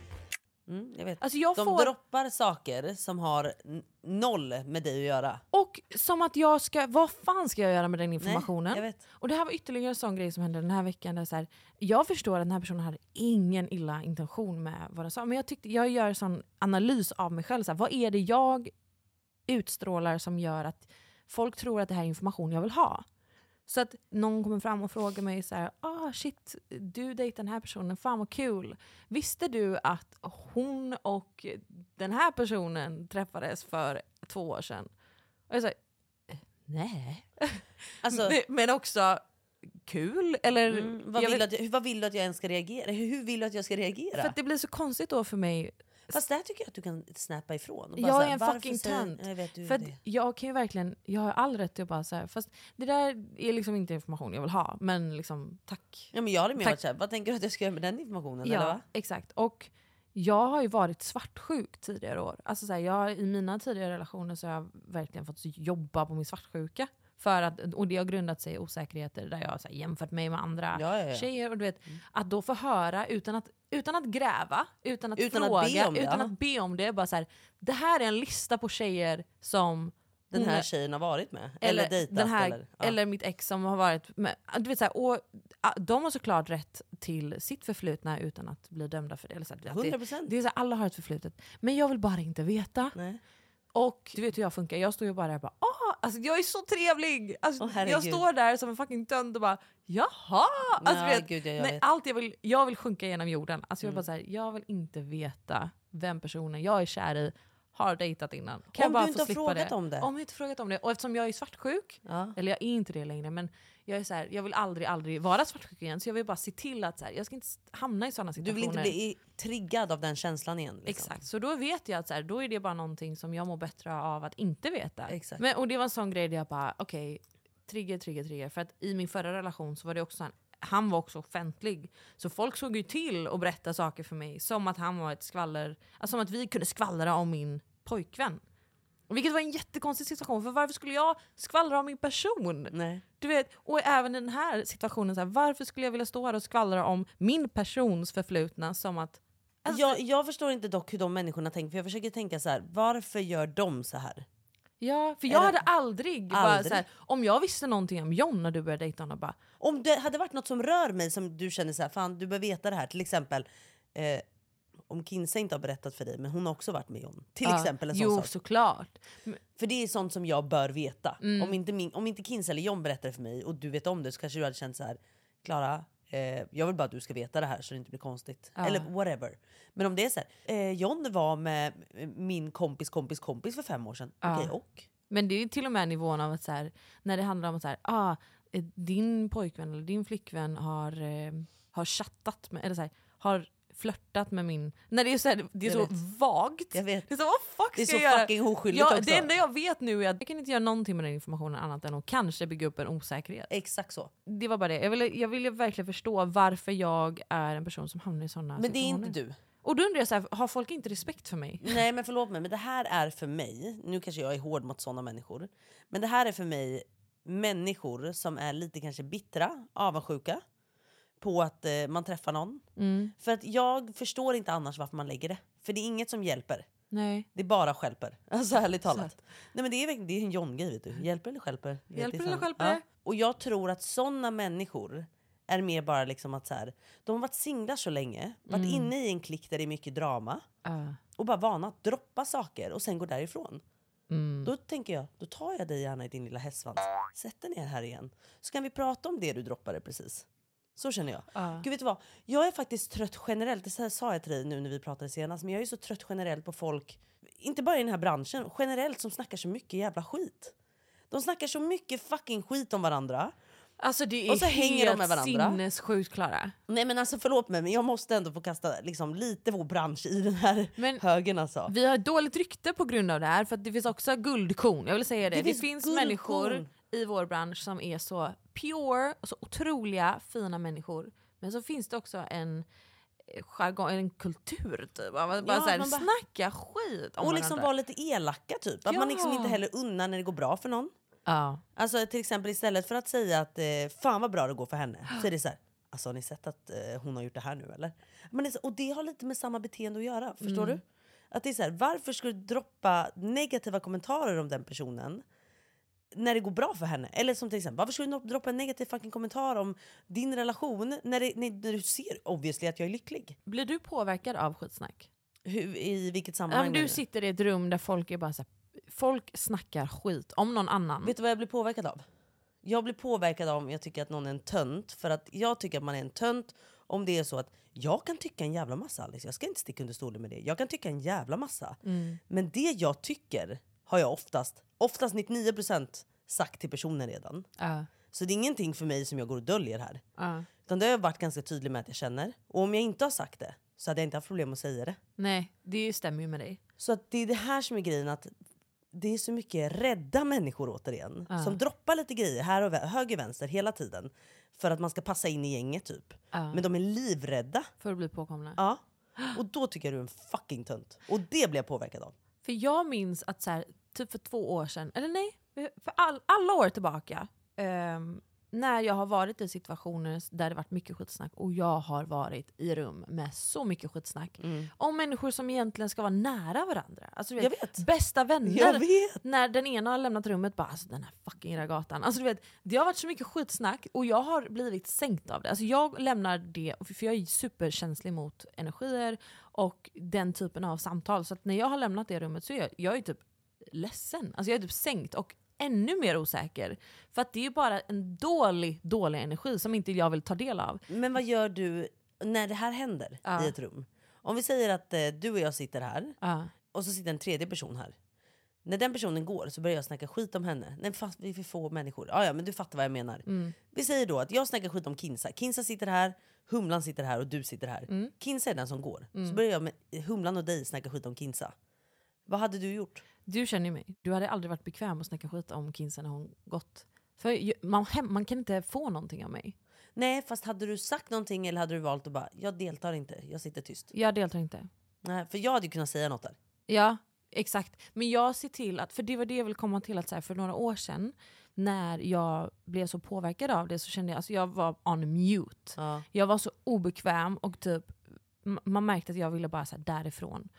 Mm, jag vet. Alltså, jag de får- droppar saker som har n- noll med dig att göra. Och som att jag ska, vad fan ska jag göra med den informationen? jag vet. Och det här var ytterligare en sån grej som hände den här veckan. Där så här, jag förstår att den här personen hade ingen illa intention med vad den sa. Men jag, tyckte, jag gör en sån analys av mig själv. Så här, vad är det jag utstrålar som gör att folk tror att det här är information jag vill ha? Så att någon kommer fram och frågar mig så här, ah shit, du dejtar den här personen, fan vad kul. Visste du att hon och den här personen träffades för två år sedan? Och jag sa, "Eh, Nej. Alltså- Men- men också kul eller? Mm, vad, jag vill vet- du att, jag- hur- vad vill du att jag ens ska reagera? Hur hur vill du att jag ska reagera? För att det blir så konstigt då för mig. Fast där tycker jag att du kan snappa ifrån. och bara så Jag här, är en varför fucking säger- tönt. Jag vet du För att det. jag kan ju verkligen, jag har all rätt till att bara så här, fast det där är liksom inte information jag vill ha. Men liksom tack. Ja, men jag hade mer Tack. varit såhär, vad tänker du att jag ska göra med den informationen? Ja, Eller va? exakt. Och jag har ju varit svartsjuk tidigare år. Alltså så här, jag, har- I mina tidigare relationer så har jag verkligen fått jobba på min svartsjuka. För att, och det har grundat sig i osäkerheter där jag har så här, jämfört mig med andra Ja, Mm. ja, ja. tjejer. Och du vet, att då få höra utan att, utan att gräva, utan att Utan att fråga, be om det, utan ja. att be om det. Bara så här, det här är en lista på tjejer som Den här hon- tjejen har varit med. Eller, dejtat. den här, eller, eller, ja. mitt ex som har varit med. Du vet, så här, och, ah, de har såklart rätt till sitt förflutna utan att bli dömda för det. Eller så här, att 100%. Det, det är så här, alla har ett förflutet. Men jag vill bara inte veta. Och du vet hur jag funkar, jag står ju bara där och bara ah, alltså, jag är så trevlig! Alltså, Åh, herregud. jag står där som en fucking tönt och bara jaha! Alltså, Ja, vet, gud, ja, jag nej, vet. Allt jag, vill, jag vill sjunka genom jorden. Alltså, jag, Mm. bara så här, jag vill inte veta vem personen jag är kär i har dejtat innan. Kan Om jag bara du inte få har slippa frågat det? om det. Om jag inte frågat om det. Och eftersom jag är svartsjuk, eller jag är inte det längre, men jag, är så här, jag vill aldrig, aldrig vara svartsjuk igen. Så jag vill bara se till att så här, jag ska inte s- hamna i sådana Du situationer. vill inte bli i- triggad av den känslan igen. Liksom. Exakt, så då vet jag att så här, då är det bara någonting som jag mår bättre av att inte veta. Exakt. Men, och det var en sån grej där jag bara, okej, trigger, trigger, trigger. För att i min förra relation så var det också han, han var också offentlig. Så folk såg ju till att berätta saker för mig som att han var ett skvaller, alltså som att vi kunde skvallra om min pojkvän. Vilket var en jättekonstig situation, för varför skulle jag skvallra om min person? Du vet, och även i den här situationen, så här, varför skulle jag vilja stå här och skvallra om min persons förflutna som att Alltså- jag, jag förstår inte dock hur de människorna tänker. För jag försöker tänka så här, varför gör de så här? Ja, för jag Eller- hade aldrig, Bara Aldrig. så här, om jag visste någonting om John när du började dejta honom, bara, Om det hade varit något som rör mig som du känner så här, fan du bör veta det här. Till exempel eh, om Kinsa inte har berättat för dig men hon har också varit med John. Till Ja, exempel en sån "Ah, jo, sak. såklart. För det är sånt som jag bör veta. Mm. Om, inte min, om inte Kinsa eller John berättar det för mig och du vet om det så kanske du hade känt så här, Klara eh, jag vill bara att du ska veta det här så det inte blir konstigt. Ja. Eller whatever. Men om det är så här, eh, John var med eh, min kompis kompis kompis för fem år sedan. Ja. Okej, och? Men det är ju till och med nivån av att så här, när det handlar om att så här, ah, eh, din pojkvän eller din flickvän har, eh, har chattat med, eller så här, har flörtat med min... När det är så, här, det är Jag så vet. vagt. Det är så, vad fuck Det är ska så jag göra? fucking oskyldigt ja, också. Det enda jag vet nu är att jag kan inte göra någonting med den informationen annat än att kanske bygga upp en osäkerhet. Exakt så. Det var bara det. Jag ville, jag ville verkligen förstå varför jag är en person som hamnar i sådana Men det är situationer. inte du. Och då undrar jag, så här, har folk inte respekt för mig? Nej men förlåt mig, men det här är för mig, nu kanske jag är hård mot sådana människor, men det här är för mig människor som är lite kanske bittra, avundsjuka på att eh, man träffar någon. Mm. För att jag förstår inte annars varför man lägger det. För det är inget som hjälper. Nej. Det är bara stjälper. Alltså ärligt talat. Nej men det är, verkligen- det är en John-grej vet du. Hjälper eller stjälper? Vet Hjälper det eller sen. stjälper? Och jag tror att sådana människor är mer bara liksom att så här, de har varit singlar så länge, varit Mm. inne i en klick där det är mycket drama Ja. och bara vana att droppa saker och sen gå därifrån. Mm. Då tänker jag, då tar jag dig gärna i din lilla hästsvans, sätter ner här igen, så kan vi prata om det du droppade precis. Så känner jag. Ja. Gud vet du vad, jag är faktiskt trött generellt, det så här sa jag till dig nu när vi pratade senast, men jag är så trött generellt på folk, inte bara i den här branschen, generellt som snackar så mycket jävla skit. De snackar så mycket fucking skit om varandra. Alltså det är och så hänger de helt med varandra. sinnessjukt Klara. Nej men alltså förlåt mig men jag måste ändå få kasta liksom, lite vår bransch i den här högen alltså. Vi har ett dåligt rykte på grund av det här för att det finns också guldkorn. Jag vill säga det. Det Det, finns finns, guldkorn. människor i vår bransch som är så pure, och så otroliga fina människor. Men så finns det också en eh, jargong, en kultur typ. av att bara Ja, så här, man bara- snacka skit om och varandra. liksom vara lite elaka typ. Att man liksom Ja. inte heller unnar när det går bra för någon. Ja. Alltså till exempel istället för att säga att eh, fan vad bra det går för henne. Så är det så här, alltså har ni sett att eh, hon har gjort det här nu eller? Men det är så, och det har lite med samma beteende att göra, förstår Mm. du? Att det är så här, varför ska du droppa negativa kommentarer om den personen? När det går bra för henne. Eller som till exempel, varför skulle du droppa en negativ fucking kommentar om din relation när, det, när du ser obviously att jag är lycklig? Blir du påverkad av skitsnack? Hur, I vilket Ja, sammanhang? men menar du sitter i ett rum där folk är bara så här, folk snackar skit om någon annan. Vet du vad jag blir påverkad av? Jag blir påverkad av om jag tycker att någon är en tönt. För att jag tycker att man är en tönt om det är så att jag kan tycka en jävla massa Alice. Jag ska inte sticka under stolen med det. Jag kan tycka en jävla massa. Mm. Men det jag tycker har jag oftast, oftast 99% sagt till personen redan. Ja. Så det är ingenting för mig som jag går och döljer här. Ja. Utan det har jag varit ganska tydlig med att jag känner. Och om jag inte har sagt det så hade jag inte haft problem att säga det. Nej, det stämmer ju med dig. Så att det är det här som är grejen att det är så mycket rädda människor återigen. Som droppar lite grejer här och vä- höger vänster hela tiden. För att man ska passa in i gänget typ. Ja. Men de är livrädda. För att bli påkomna. Ja. Och då tycker jag du är en fucking tönt. Och det blir jag påverkad av. För jag minns att så här, typ för två år sedan, eller nej, för all, alla år tillbaka, ehm, när jag har varit i situationer där det varit mycket skitsnack och jag har varit i rum med så mycket skitsnack om människor som egentligen ska vara nära varandra. Alltså, du vet, Bästa vänner. Jag vet. När den ena har lämnat rummet bara alltså, den här fucking ragatan. Alltså, du vet, det har varit så mycket skitsnack och jag har blivit sänkt av det. Alltså, jag lämnar det, för jag är superkänslig mot energier och den typen av samtal. Så att när jag har lämnat det rummet så är jag, jag är typ ledsen. Alltså, jag är typ sänkt och ännu mer osäker. För att det är ju bara en dålig, dålig energi som inte jag vill ta del av. Men vad gör du när det här händer i ett rum? Om vi säger att eh, du och jag sitter här och så sitter en tredje person här. När den personen går så börjar jag snacka skit om henne. Nej, fast vi är för få människor. Ja, ja, men du fattar vad jag menar. Mm. Vi säger då att jag snackar skit om Kinsa. Kinsa sitter här, Humlan sitter här och du sitter här. Mm. Kinsa är den som går. Så Mm. börjar jag med Humlan och dig snacka skit om Kinsa. Vad hade du gjort? Du känner ju mig. Du hade aldrig varit bekväm att snacka skit om Kinsa när hon gått. För ju- man, hem, man kan inte få någonting av mig. Nej, fast hade du sagt någonting eller hade du valt att bara jag deltar inte, jag sitter tyst. Jag deltar inte. Nej, för jag hade ju kunnat säga något där. Ja, exakt. Men jag ser till att, för det var det jag ville komma till, att så här, för några år sedan när jag blev så påverkad av det så kände jag, alltså jag var on mute. Jag var så obekväm och typ, m- man märkte att jag ville bara så här, därifrån.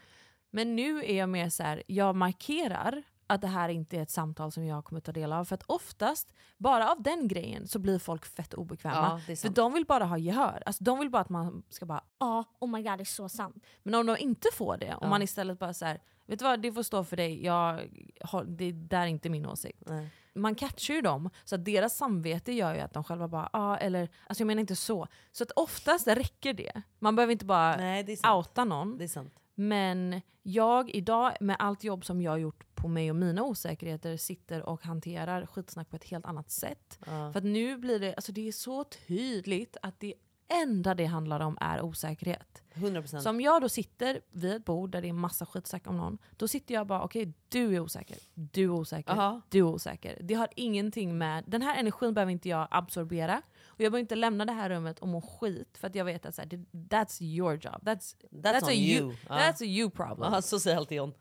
Men nu är jag mer så här, jag markerar att det här inte är ett samtal som jag kommer ta del av. För att oftast, bara av den grejen, så blir folk fett Ja, obekväma. det är för sant. de vill bara ha gehör. Alltså, de vill bara att man ska bara Ja, oh my god det är så sant. men om de inte får det, om Ja. man istället bara så här, vet du vad, det får stå för dig, jag, har- det där är inte min åsikt. Man catchar ju dem, så att deras samvete gör ju att de själva bara, ja ah, eller, alltså jag menar inte så. Så att oftast räcker det. Man behöver inte bara outa någon. Men jag idag, med allt jobb som jag har gjort på mig och mina osäkerheter, sitter och hanterar skitsnack på ett helt annat sätt. Ja. För att nu blir det, alltså det är så tydligt att det enda det handlar om är osäkerhet. 100%. Så om jag då sitter vid ett bord där det är massa skitsnack om någon, då sitter jag bara okej, du är osäker, du är osäker, Ja. du är osäker. Det har ingenting med, den här energin behöver inte jag absorbera. Och jag behöver inte lämna det här rummet och må skit för att jag vet att så här, det- that's your job. That's, That's, a on you. Ja. That's a you problem. Ja, så säger alltid John.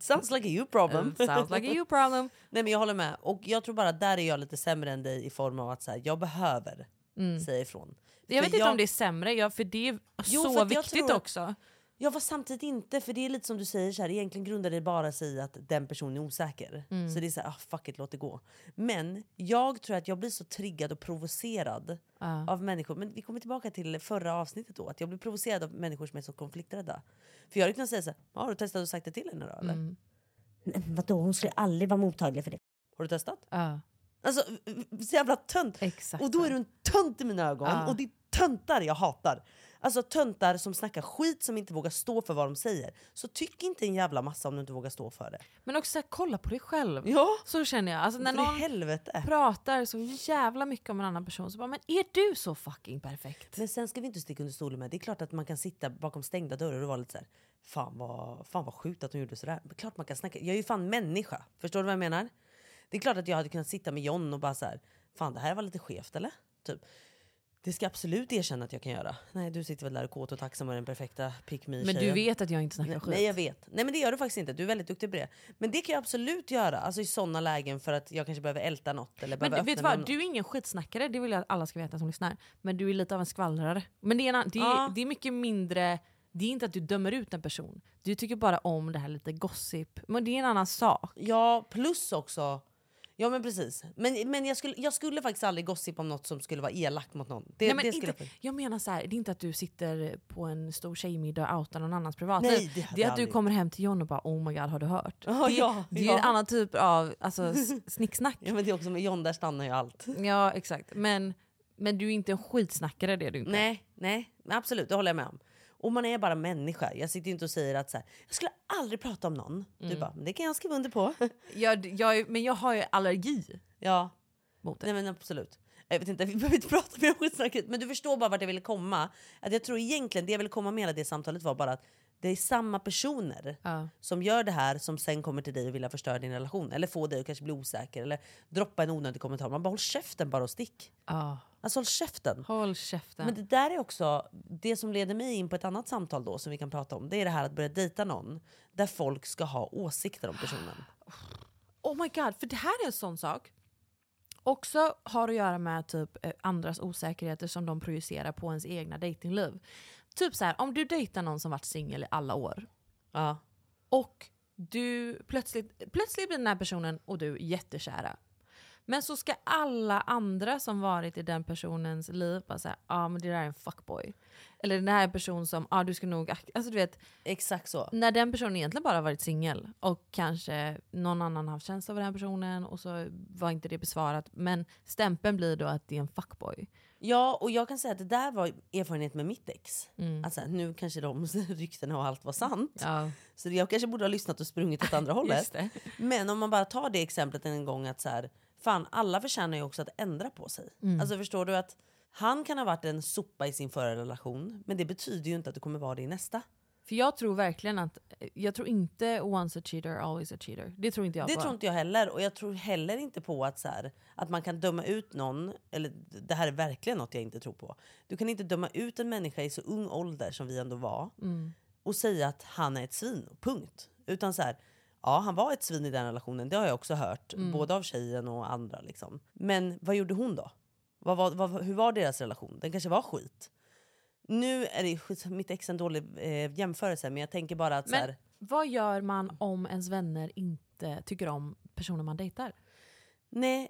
Sounds like a you problem. Eh, sounds like a you problem. Nej men jag håller med. Och jag tror bara där är jag lite sämre än dig i form av att så här, jag behöver Mm. säga ifrån. Jag För vet inte om det är sämre, jag, för det är Jo, för så att jag viktigt tror- också. Jag var samtidigt inte, för det är lite som du säger så här, egentligen grundar det bara sig i att den personen är osäker. Mm. Så det är så här, ah, fuck it, låt det gå. Men jag tror att jag blir så triggad och provocerad Ja. av människor. Men vi kommer tillbaka till förra avsnittet då, att jag blir provocerad av människor som är så konflikträdda. För jag hade kunnat säga så här, "Ah, har du testat och sagt det till henne då eller? Mm. Nej, men vadå, hon skulle aldrig vara mottaglig för det. Har du testat? Ja. Alltså, så jävla tönt. och då är du en tönt i mina ögon. Ja. Och det är töntar jag hatar. Alltså töntar som snackar skit som inte vågar stå för vad de säger. Så tyck inte en jävla massa om du inte vågar stå för det. Men också så här, kolla på dig själv. Ja. Så känner jag. Alltså, när För i någon helvete. pratar så jävla mycket om en annan person så bara, men är du så fucking perfekt? Men sen ska vi inte sticka under stolen med. Det är klart att man kan sitta bakom stängda dörrar och vara lite så här. Fan vad, fan vad sjukt att hon gjorde sådär. Men klart man kan snacka. Jag är ju fan människa. Förstår du vad jag menar? Det är klart att jag hade kunnat sitta med John och bara så här. Fan det här var lite skevt eller? Typ. Det ska jag absolut erkänna att jag kan göra. Nej du sitter väl där och kåt och tacksam och är den perfekta pick me Men du vet att jag inte snackar Nej, skit. Nej jag vet. Nej men det gör du faktiskt inte. Du är väldigt duktig på det. Men det kan jag absolut göra. Alltså i sådana lägen för att jag kanske behöver älta något. Eller Men behöver du, vet du öppna vad, någon- du är ingen skitsnackare, det vill jag att alla ska veta som lyssnar. Men du är lite av en skvallrare. Men det är, en, an- det är, Ja. det är mycket mindre, det är inte att du dömer ut en person. Du tycker bara om det här lite gossip. Men det är en annan sak. Ja, plus också... Ja men precis. Men, men jag, skulle, jag skulle faktiskt aldrig gossipa om något som skulle vara elakt mot någon. Det, Nej, men det skulle inte, jag- jag menar så här, det är inte att du sitter på en stor tjejmiddag och outar någon annans privat. Alltså, Nej, det det, hade är jag att du aldrig kommer hem till John och bara oh my god har du hört? Ja, det, ja, det är ja. en annan typ av alltså, s- snicksnack. Ja men det är också med John, där stannar ju allt. Ja exakt. Men, men du är inte en skitsnackare det är du inte. Nej, nej, men absolut, det håller jag med om. Och man är bara människa. Jag sitter ju inte och säger att så här, jag skulle aldrig prata om någon. Du Mm. bara, men det kan jag skriva under på. Jag, jag, är- men jag har ju allergi Ja. Nej men absolut. Jag vet inte, vi behöver inte prata mer om skitsnacket. Men du förstår bara vart jag ville komma. Att jag tror egentligen, det jag ville komma med hela det samtalet var bara att det är samma personer som gör det här som sen kommer till dig och vill förstöra din relation. Eller få dig att kanske bli osäker. Eller droppa en onödig kommentar. Man bara håll käften bara och stick. Ja. Alltså håll käften. Håll käften. Men det där är också det som leder mig in på ett annat samtal då som vi kan prata om. Det är det här att börja dejta någon där folk ska ha åsikter om personen. Oh my god, för det här är en sån sak. Också har att göra med typ eh, andras osäkerheter som de projicerar på ens egna datingliv. Typ så här, om du dejtar någon som varit singel i alla år. Ja. Och du plötsligt, plötsligt blir den här personen och du jättekära. Men så ska alla andra som varit i den personens liv bara säga ja ah, men det där är en fuckboy. Eller den här personen som, ja ah, du ska nog ak-" alltså du vet. Exakt så. När den personen egentligen bara varit singel och kanske någon annan haft känsla av den här personen och så var inte det besvarat. Men stämpeln blir då att det är en fuckboy. Ja, och jag kan säga att det där var erfarenhet med mitt ex. Mm. Alltså, nu kanske de ryktena och allt var sant. Ja. Så jag kanske borde ha lyssnat och sprungit åt andra hållet. Just det. Men om man bara tar det exemplet en gång att så här, fan alla förtjänar ju också att ändra på sig. Mm. Alltså förstår du att han kan ha varit en sopa i sin förra relation men det betyder ju inte att du kommer vara det i nästa. För jag tror verkligen att, jag tror inte once a cheater always a cheater. Det tror inte jag det på. tror inte jag heller. Och jag tror heller inte på att, så här, att man kan döma ut någon. Eller det här är verkligen något jag inte tror på. Du kan inte döma ut en människa i så ung ålder som vi ändå var. Mm. och säga att han är ett svin. Punkt. Utan så här, ja han var ett svin i den relationen, det har jag också hört. Mm. Både av tjejen och andra. Liksom. Men vad gjorde hon då? Vad, var- vad, hur var deras relation? Den kanske var skit. Nu är det skit, mitt ex en dålig eh, jämförelse men jag tänker bara att så Men här, vad gör man om ens vänner inte tycker om personer man dejtar? nej,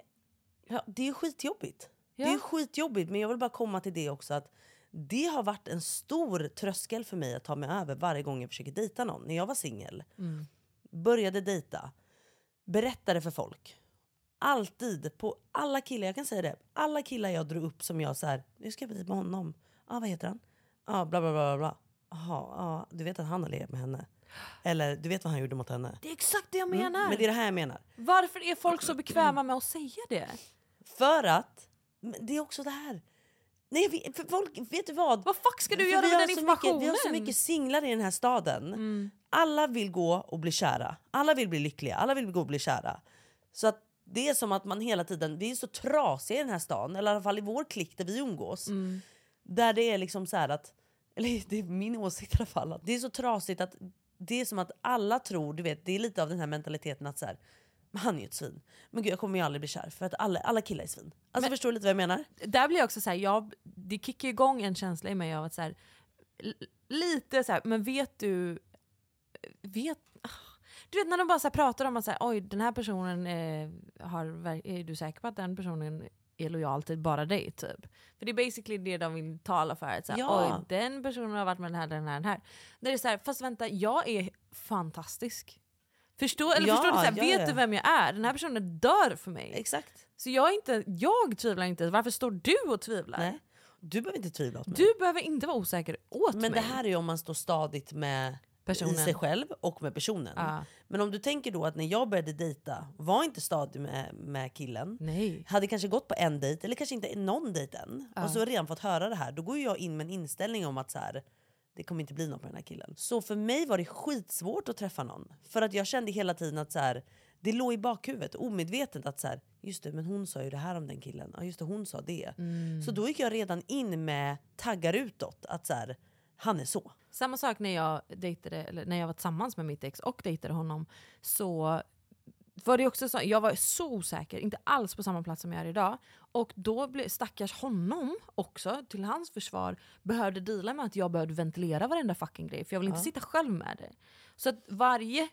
ja, det är skitjobbigt. Det är skitjobbigt men jag vill bara komma till det också att det har varit en stor tröskel för mig att ta mig över varje gång jag försöker dejta någon. När jag var singel Mm. började dejta, berättade för folk. Alltid, på alla killar, jag kan säga det, alla killar jag drog upp som jag så här, nu ska jag bli med honom. Ja, ah, vad heter han? Ja, ah, bla bla bla bla, bla. Jaha, ah, du vet att han har legat med henne. Eller du vet vad han gjorde mot henne. Det är exakt det jag Mm, menar. men det är det här jag menar. Varför är folk så bekväma med att säga det? För att, men det är också det här. Nej, vi- för folk, vet du vad? Vad fuck ska du göra med den informationen? Mm. Mycket, vi har så mycket singlar i den här staden. Alla vill gå och bli kära. Alla vill bli lyckliga. Alla vill gå och bli kära. Så att det är som att man hela tiden, vi är så trasiga i den här stan, eller i alla fall i vår klick där vi umgås. Mm. Där det är liksom så här att, eller det är min åsikt i alla fall, att det är så trasigt att det är som att alla tror, du vet det är lite av den här mentaliteten att så här, men han är ju ett svin. Men gud jag kommer ju aldrig bli kär för att alla, alla killar är svin. Alltså förstår du lite vad jag menar? Där blir jag också så här, jag, det kickar ju igång en känsla i mig av att så här, l- lite så här, men vet du, vet, ah. du vet när de bara så här pratar om att så här, oj den här personen eh, har, ver- är du säker på att den personen är lojal till bara dig typ. För det är basically det de vill tala för. Att, så här, Ja. Oj den personen har varit med den här, den här, den här. Där det är så här, fast vänta jag är fantastisk. Förstår, eller Ja, förstår du? Så här, ja, vet ja. du vem jag är? Den här personen dör för mig. Exakt. Så jag, är inte, jag tvivlar inte. Varför står du och tvivlar? Nej. Du behöver inte tvivla åt mig. Du behöver inte vara osäker åt mig. Men det här är ju om man står stadigt med Personen. i sig själv och med personen. Ja. Men om du tänker då att när jag började dejta, var inte stadig med, med killen. Nej. Hade kanske gått på en dejt eller kanske inte någon dejt än. Ja. Och så redan fått höra det här. Då går ju jag in med en inställning om att så här, det kommer inte bli något med den här killen. Så för mig var det skitsvårt att träffa någon. För att jag kände hela tiden att så här, det låg i bakhuvudet omedvetet att så här, just det men hon sa ju det här om den killen. Ja just det hon sa det. Mm. Så då gick jag redan in med taggar utåt. Att så här, han är så. Samma sak när jag, dejtade, eller när jag var tillsammans med mitt ex och dejtade honom. Så var det också så, jag var så osäker, inte alls på samma plats som jag är idag. Och då blev stackars honom också, till hans försvar, behövde deala med att jag behövde ventilera varenda fucking grej. För jag ville inte Ja. sitta själv med det. Så att varje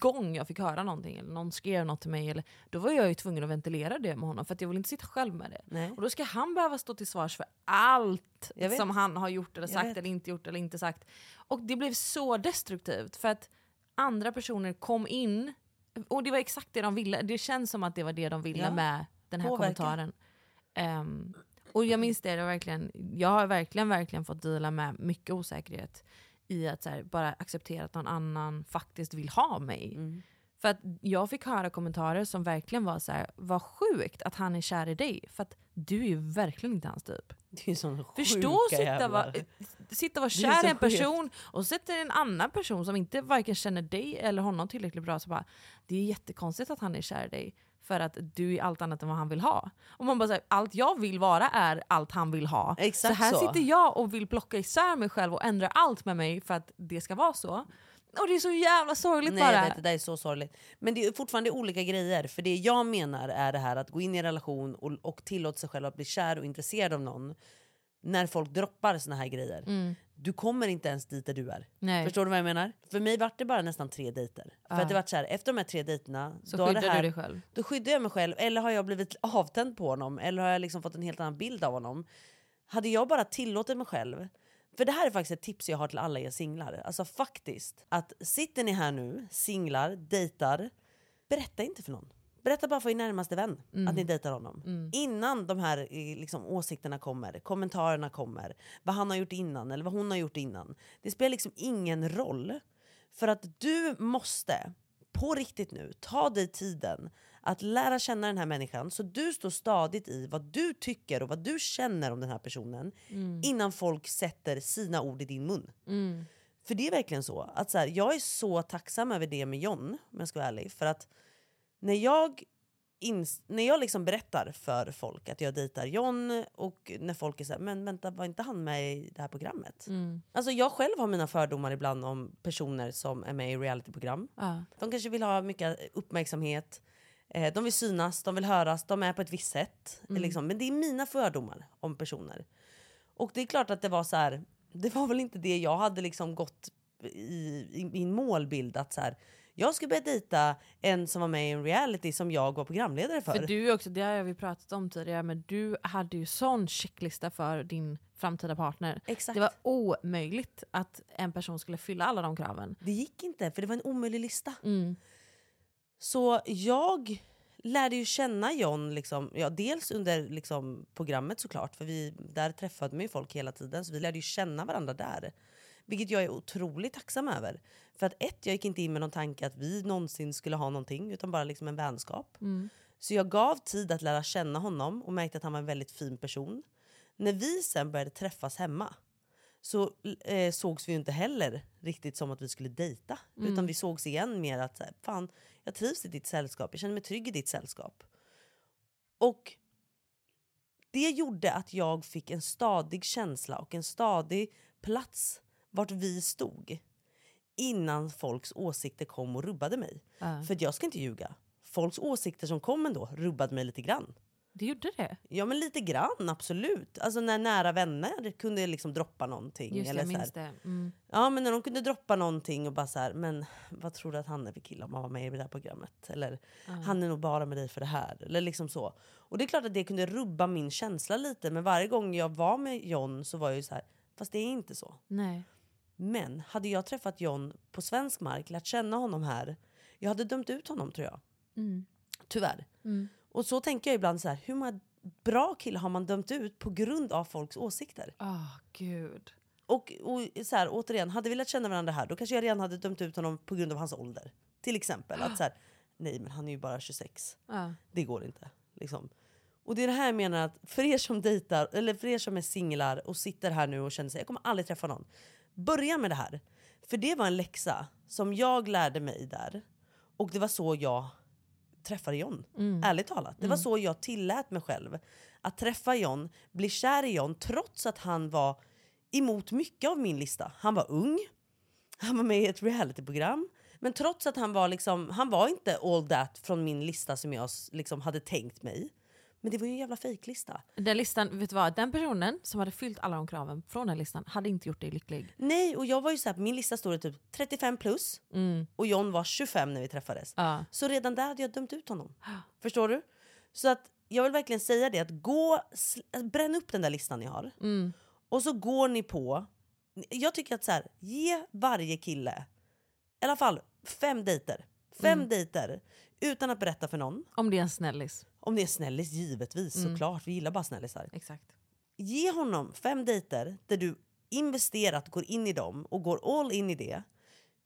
gång jag fick höra någonting eller någon skrev något till mig, eller, då var jag ju tvungen att ventilera det med honom för att jag ville inte sitta själv med det. Nej. Och då ska han behöva stå till svars för allt Jag vet. som han har gjort eller Jag sagt vet. eller inte gjort eller inte sagt. Och det blev så destruktivt för att andra personer kom in och det var exakt det de ville. Det känns som att det var det de ville Ja. med den här Påverka. kommentaren. Ehm, och jag minns det, det var verkligen, jag har verkligen, verkligen fått deala med mycket Mm. osäkerhet i att så här, bara acceptera att någon annan faktiskt vill ha mig. För att jag fick höra kommentarer som verkligen var så här: vad sjukt att han är kär i dig. För att du är ju verkligen inte hans typ. Det är ju sån sjuka Förstå att sitta, jävlar. va, sitta och vara Det är kär så i en person sjukt. och sätter en annan person som inte varken känner dig eller honom tillräckligt bra så bara, det är jättekonstigt att han är kär i dig. För att du är allt annat än vad han vill ha. Och man bara säger allt jag vill vara är allt han vill ha. Exakt så här så. sitter jag och vill plocka isär mig själv och ändra allt med mig för att det ska vara så. Och det är så jävla sorgligt Nej, bara. Jag vet, det där är så sorgligt. Men det är fortfarande olika grejer. För det jag menar är det här att gå in i en relation och, och tillåta sig själv att bli kär och intresserad av någon. När folk droppar såna här grejer. Mm. Du kommer inte ens dit där du är. Nej. Förstår du vad jag menar? För mig vart det bara nästan tre dejter. För Ja. att det vart så här, efter de här tre dejterna. Så då har skyddar det här, du dig själv. Då skyddar jag mig själv. Eller har jag blivit avtänd på honom? Eller har jag liksom fått en helt annan bild av honom? Hade jag bara tillåtit mig själv för det här är faktiskt ett tips jag har till alla er singlar. Alltså faktiskt. Att sitter ni här nu, singlar, dejtar. Berätta inte för någon. Berätta bara för er närmaste vän Mm. att ni dejtar honom. Mm. Innan de här eh, liksom, åsikterna kommer, kommentarerna kommer, vad han har gjort innan eller vad hon har gjort innan. Det spelar liksom ingen roll. För att du måste, på riktigt nu, ta dig tiden att lära känna den här människan så du står stadigt i vad du tycker och vad du känner om den här personen Mm. innan folk sätter sina ord i din mun. Mm. För det är verkligen så. Att så här, jag är så tacksam över det med John, om jag ska vara ärlig. För att när jag, ins- när jag liksom berättar för folk att jag dejtar John och när folk är så här, men vänta var inte han med i det här programmet? Mm. Alltså jag själv har mina fördomar ibland om personer som är med i realityprogram. Ja. De kanske vill ha mycket uppmärksamhet, eh, de vill synas, de vill höras, de är på ett visst sätt. Mm. Liksom. Men det är mina fördomar om personer. Och det är klart att det var så här, det var väl inte det jag hade liksom gått i, i min målbild att så här, jag ska börja dejta en som var med i en reality som jag var programledare för. För du är också, det har vi pratat om tidigare, men du hade ju sån checklista för din framtida partner. Exakt. Det var omöjligt att en person skulle fylla alla de kraven. Det gick inte, för det var en omöjlig lista. Mm. Så jag lärde ju känna John, liksom, ja, dels under liksom, programmet såklart, för vi, där träffade man ju folk hela tiden, så vi lärde ju känna varandra där. Vilket jag är otroligt tacksam över. För att ett, jag gick inte in med någon tanke att vi någonsin skulle ha någonting, utan bara liksom en vänskap. Mm. Så jag gav tid att lära känna honom och märkte att han var en väldigt fin person. När vi sen började träffas hemma så eh, sågs vi ju inte heller riktigt som att vi skulle dejta. Mm. Utan vi sågs igen mer att så här, fan, jag trivs i ditt sällskap, jag känner mig trygg i ditt sällskap. Och det gjorde att jag fick en stadig känsla och en stadig plats vart vi stod innan folks åsikter kom och rubbade mig. Ja. För att jag ska inte ljuga. Folks åsikter som kom ändå rubbade mig lite grann. Det gjorde det. Ja men lite grann, absolut. Alltså när nära vänner kunde liksom droppa någonting. Just det, eller jag så här. minns det. Mm. Ja men när de kunde droppa någonting och bara så här, men vad tror du att han är för kille om han var med i det här programmet? Eller Ja. han är nog bara med dig för det här. Eller liksom så. Och det är klart att det kunde rubba min känsla lite men varje gång jag var med John så var jag ju så här, fast det är inte så. Nej. Men hade jag träffat John på svensk mark, lärt känna honom här, jag hade dömt ut honom tror jag. Mm. Tyvärr. Mm. Och så tänker jag ibland så här, hur många bra killar har man dömt ut på grund av folks åsikter? Ah, gud. Och, och så här, återigen, hade vi lärt känna varandra här då kanske jag redan hade dömt ut honom på grund av hans ålder. Till exempel. Att så här, nej men han är ju bara 26. Ja. Det går inte. Liksom. Och det är det här jag menar att för er som dejtar, eller för er som är singlar och sitter här nu och känner sig jag kommer aldrig träffa någon. Börja med det här. För det var en läxa som jag lärde mig där. Och det var så jag träffade John. Mm. Ärligt talat. Det var Mm. så jag tillät mig själv att träffa John, bli kär i John trots att han var emot mycket av min lista. Han var ung, han var med i ett realityprogram. Men trots att han var liksom, han var inte all that från min lista som jag s- liksom hade tänkt mig. Men det var ju en jävla fejklista. Den listan, vet du vad? Den personen som hade fyllt alla de kraven från den listan hade inte gjort dig lycklig. Nej, och jag var ju så här, på min lista stod det typ 35 plus Mm. och John var 25 när vi träffades. Ja. Så redan där hade jag dömt ut honom. Förstår du? Så att jag vill verkligen säga det att gå, sl- bränn upp den där listan ni har. Mm. Och så går ni på, jag tycker att så här, ge varje kille i alla fall fem dejter. Fem Mm. dejter utan att berätta för någon. Om det är en snällis. Om det är en snällis, givetvis. Mm. Såklart, vi gillar bara snällisar. Exakt. Ge honom fem dejter där du investerat går in i dem och går all in i det.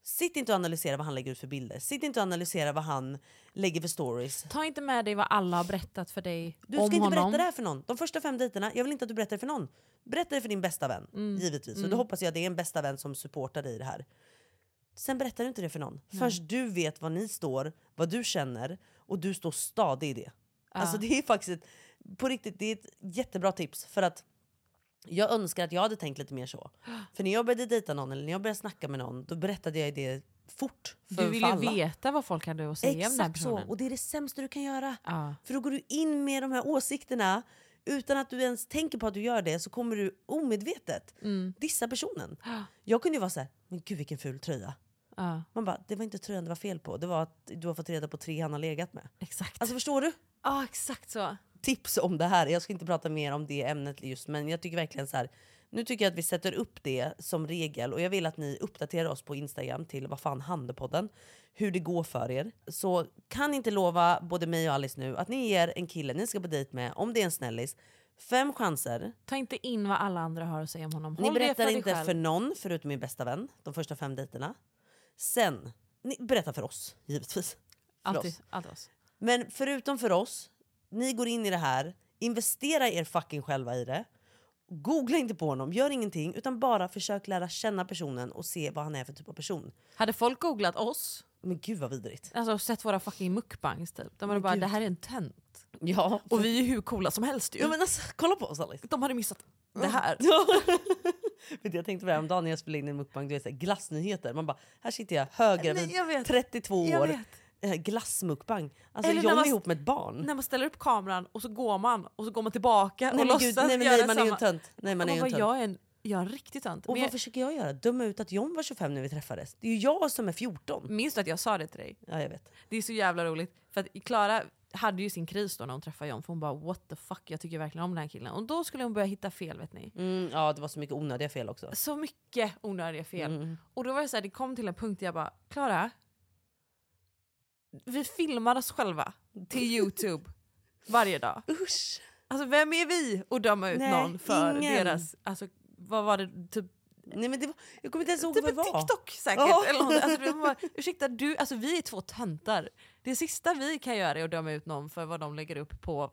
Sitt inte och analysera vad han lägger ut för bilder. Sitt inte och analysera vad han lägger för stories. Ta inte med dig vad alla har berättat för dig Du om ska inte honom. berätta det här för någon. De första fem dejterna, jag vill inte att du berättar det för någon. Berätta det för din bästa vän, Mm. givetvis. Och Mm. då hoppas jag att det är en bästa vän som supportar dig i det här. Sen berättar du inte det för någon Nej. förrän du vet var ni står, vad du känner och du står stadig i det. Ja. Alltså det är faktiskt, ett, på riktigt, det är ett jättebra tips. För att jag önskar att jag hade tänkt lite mer så. För när jag började dejta någon eller när jag började snacka med någon, då berättade jag det fort. För Du vill för ju alla. veta vad folk hade att säga om den här Exakt så, personen. och det är det sämsta du kan göra. Ja. För då går du in med de här åsikterna utan att du ens tänker på att du gör det så kommer du omedvetet Mm. dissa personen. Jag kunde ju vara så här, men gud vilken ful tröja. Ja. Man bara, det var inte tröjan det var fel på, det var att du har fått reda på tre han har legat med. Exakt. Alltså förstår du? Ja, exakt så. Tips om det här, jag ska inte prata mer om det ämnet just men jag tycker verkligen så här. Nu tycker jag att vi sätter upp det som regel och jag vill att ni uppdaterar oss på Instagram till vad fan handepodden. Hur det går för er. Så kan inte lova både mig och Alice nu att ni ger en kille ni ska på dejt med, om det är en snällis, fem chanser. Ta inte in vad alla andra har att säga om honom. Ni Håll det berättar för dig inte själv. för någon förutom min bästa vän de första fem dejterna. Sen, ni berättar för oss givetvis. För Alltid, oss. alltid oss. Men förutom för oss, ni går in i det här, investera er fucking själva i det. Googla inte på honom, gör ingenting utan bara försök lära känna personen och se vad han är för typ av person. Hade folk googlat oss? Men gud vad vidrigt. Alltså sett våra fucking mukbangs typ. De var Men bara gud. det här är en tönt. Ja. Och vi är ju hur coola som helst ju. Ja, men alltså, kolla på oss Alice. De hade missat Mm. det här. Vet du, jag tänkte på det här om dagen när jag spelade in en mukbang, du vet så här, glassnyheter. Man bara, här sitter jag höger Nej, jag vid vet. 32 Jag år. vet. eh, Glassmukbang. Alltså Eller när John man är s- ihop med ett barn. När man ställer upp kameran och så går man och så går man tillbaka och men låtsas gud, nej, men göra nej, man är ju en samma. tönt. Nej, man Och är ju en bara, tönt. Jag är en, jag är en riktig tönt. Och Men vad jag, försöker jag göra? Döma ut att John var 25 när vi träffades. Det är ju jag som är 14. minns du att jag sa det till dig? Ja, jag vet. Det är så jävla roligt. För att Klara hade ju sin kris då när hon träffade John. För hon bara what the fuck, jag tycker verkligen om den här killen. Och då skulle hon börja hitta fel vet ni. Mm, ja, det var så mycket onödiga fel också. Så mycket onödiga fel. Mm. Och då var det så här, det kom till en punkt där jag bara Klara, vi filmar oss själva till Youtube varje dag. Usch! Alltså vem är vi att döma ut Nej, någon för ingen. deras, alltså vad var det, typ Nej, men det var, jag kommer inte ens ihåg Typ vad en det var. TikTok säkert. Ja. Eller något. Alltså, du bara, ursäkta, du, alltså, vi är två töntar. Det sista vi kan göra är att döma ut någon för vad de lägger upp på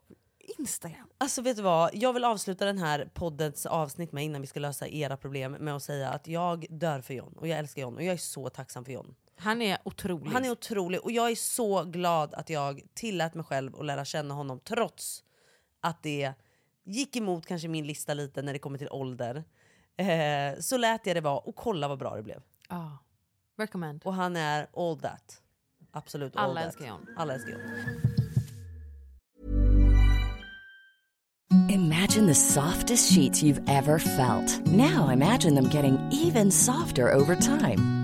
Instagram. Alltså vet du vad, jag vill avsluta den här poddens avsnitt med innan vi ska lösa era problem med att säga att jag dör för John och jag älskar John och jag är så tacksam för John. Han är otrolig. Han är otrolig och jag är så glad att jag tillät mig själv att lära känna honom trots att det gick emot kanske min lista lite när det kommer till ålder. Eh, så lät jag det vara och kolla vad bra det blev. Ja. Recommend. Och han är all that. Absolut all Alla that. älskar John. Alla älskar John. Imagine the softest sheets you've ever felt. Now imagine them getting even softer over time.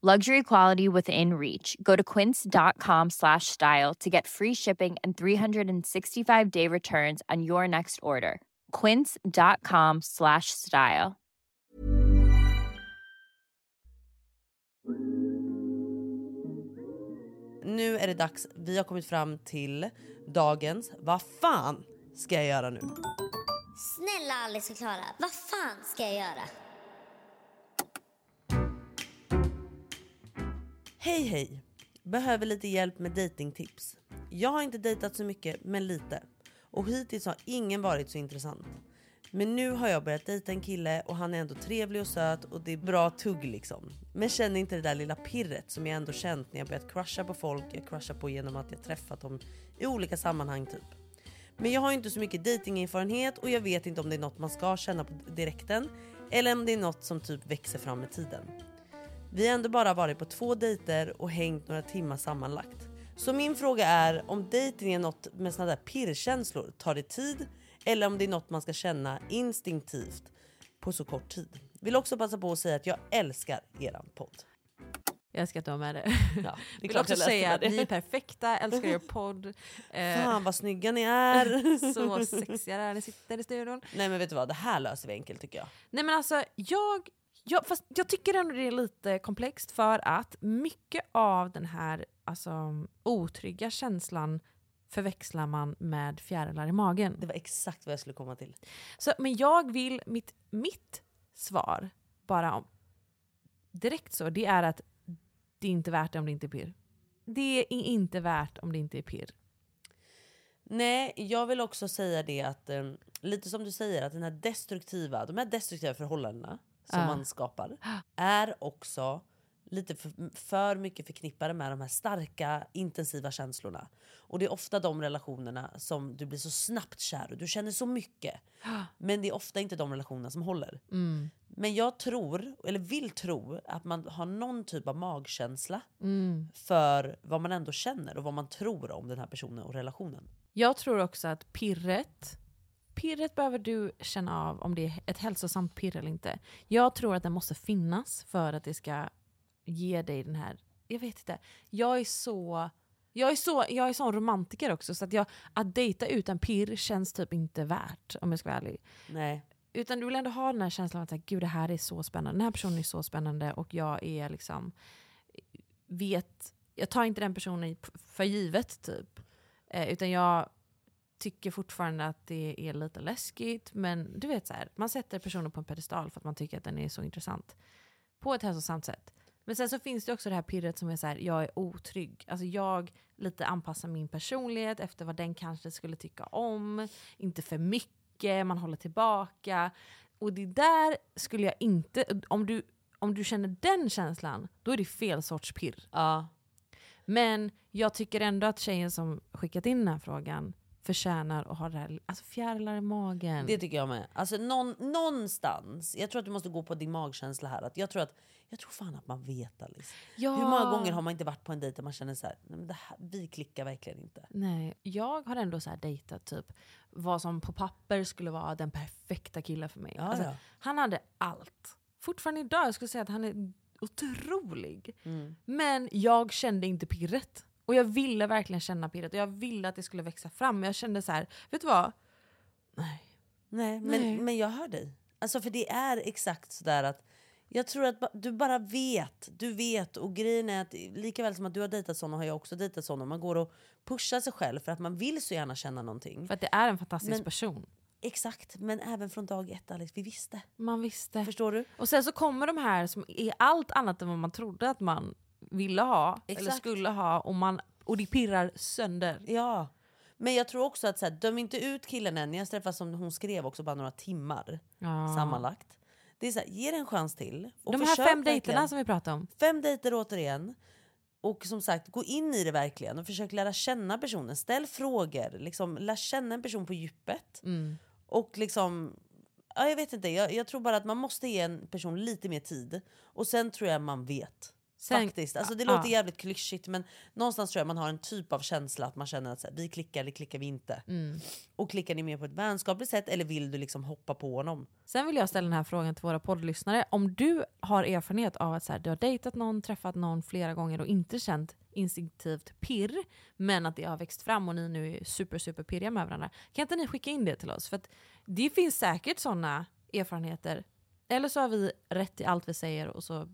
Luxury quality within reach. Go to quince.com slash style to get free shipping and 365 day returns on your next order. Quince.com slash style. Nu är det dags. Vi har kommit fram till dagens Vad fan ska jag göra nu? Snälla Alice och Klara, vad fan ska jag göra? Hej hej! Behöver lite hjälp med datingtips. Jag har inte dejtat så mycket, men lite. Och hittills har ingen varit så intressant. Men nu har jag börjat dejta en kille och han är ändå trevlig och söt och det är bra tugg liksom. Men känner inte det där lilla pirret som jag ändå känt när jag börjat crusha på folk jag crushar på genom att jag träffat dem i olika sammanhang typ. Men jag har ju inte så mycket datingerfarenhet och jag vet inte om det är något man ska känna på direkten eller om det är något som typ växer fram med tiden. Vi har ändå bara varit på två dejter och hängt några timmar sammanlagt. Så min fråga är om dejting är något med såna där pirrkänslor, tar det tid? Eller om det är något man ska känna instinktivt på så kort tid. Vill också passa på att säga att jag älskar eran podd. Jag älskar att du har med det. Ja, det är Vill klart också jag läste säga med att det. ni är perfekta, älskar er podd. Eh, Fan vad snygga ni är! så sexiga där ni sitter i studion. Nej men vet du vad, det här löser vi enkelt tycker jag. Nej men alltså jag, jag, fast jag tycker ändå det är lite komplext för att mycket av den här alltså, otrygga känslan förväxlar man med fjärilar i magen. Det var exakt vad jag skulle komma till. Så, men jag vill, mitt, mitt svar bara om, direkt så, det är att det är inte värt det om det inte är pirr. Det är inte värt om det inte är pirr. Nej, jag vill också säga det att eh, lite som du säger att den här destruktiva, de här destruktiva förhållandena som Ja. man skapar är också lite för, för mycket förknippade med de här starka intensiva känslorna. Och det är ofta de relationerna som du blir så snabbt kär och du känner så mycket. Men det är ofta inte de relationerna som håller. Mm. Men jag tror, eller vill tro, att man har någon typ av magkänsla Mm. för vad man ändå känner och vad man tror om den här personen och relationen. Jag tror också att pirret, pirret behöver du känna av om det är ett hälsosamt pirr eller inte. Jag tror att den måste finnas för att det ska ge dig den här, jag vet inte. Jag är så, jag är så, jag är sån romantiker också så att jag, att dejta utan pirr känns typ inte värt om jag ska vara ärlig. Nej. Utan du vill ändå ha den här känslan att så här, gud det här är så spännande, den här personen är så spännande och jag är liksom, vet, jag tar inte den personen p- för givet typ. Eh, utan jag tycker fortfarande att det är lite läskigt men du vet så här, man sätter personen på en pedestal för att man tycker att den är så intressant. På ett hälsosamt sätt. Men sen så finns det också det här pirret som är så här, jag är otrygg. Alltså jag lite anpassar min personlighet efter vad den kanske skulle tycka om. Inte för mycket, man håller tillbaka. Och det där skulle jag inte, om du, om du känner den känslan, då är det fel sorts pirr. Men jag tycker ändå att tjejen som skickat in den här frågan förtjänar att ha det här, alltså fjärilar i magen. Det tycker jag med. Alltså någon, någonstans, jag tror att du måste gå på din magkänsla här. Att jag, tror att, jag tror fan att man vet Alice. Ja. Hur många gånger har man inte varit på en dejt där man känner så här, Nej, men det här vi klickar verkligen inte. Nej, jag har ändå så här dejtat typ vad som på papper skulle vara den perfekta killen för mig. Alltså, Ja, ja. Han hade allt. Fortfarande idag jag skulle säga att han är otrolig. Mm. Men jag kände inte pirret. Och jag ville verkligen känna pirret och jag ville att det skulle växa fram. Men jag kände så här, vet du vad? Nej, men, Nej. men jag hör dig. Alltså för det är exakt sådär att jag tror att ba- du bara vet. Du vet och grejen är att lika väl som att du har dejtat sådana har jag också dejtat sådana. Man går och pushar sig själv för att man vill så gärna känna någonting. För att det är en fantastisk Men- person. Exakt, men även från dag ett Alex, vi visste. Man visste. Förstår du? Och sen så kommer de här som är allt annat än vad man trodde att man ville ha eller Exakt. skulle ha och, man, och det pirrar sönder. Ja. Men jag tror också att så här, döm inte ut killen än. Ni har träffats som hon skrev också bara några timmar Ja. sammanlagt. Det är så här, ge det en chans till. och de här försök fem dejterna verkligen. som vi pratade om. Fem dejter återigen. Och som sagt, gå in i det verkligen och försök lära känna personen. Ställ frågor, liksom, lär känna en person på djupet. Mm. Och liksom, ja, jag vet inte, jag, jag tror bara att man måste ge en person lite mer tid. Och sen tror jag man vet. Sen- Ah, Faktiskt. Alltså det ja. låter jävligt klyschigt men någonstans tror jag man har en typ av känsla att man känner att så här, vi klickar eller klickar vi inte. Mm. Och klickar ni mer på ett vänskapligt sätt eller vill du liksom hoppa på honom? Sen vill jag ställa den här frågan till våra poddlyssnare. Om du har erfarenhet av att så här, du har dejtat någon, träffat någon flera gånger och inte känt instinktivt pirr, men att det har växt fram och ni nu är super, super pirriga med varandra. Kan inte ni skicka in det till oss? För att det finns säkert sådana erfarenheter. Eller så har vi rätt i allt vi säger och så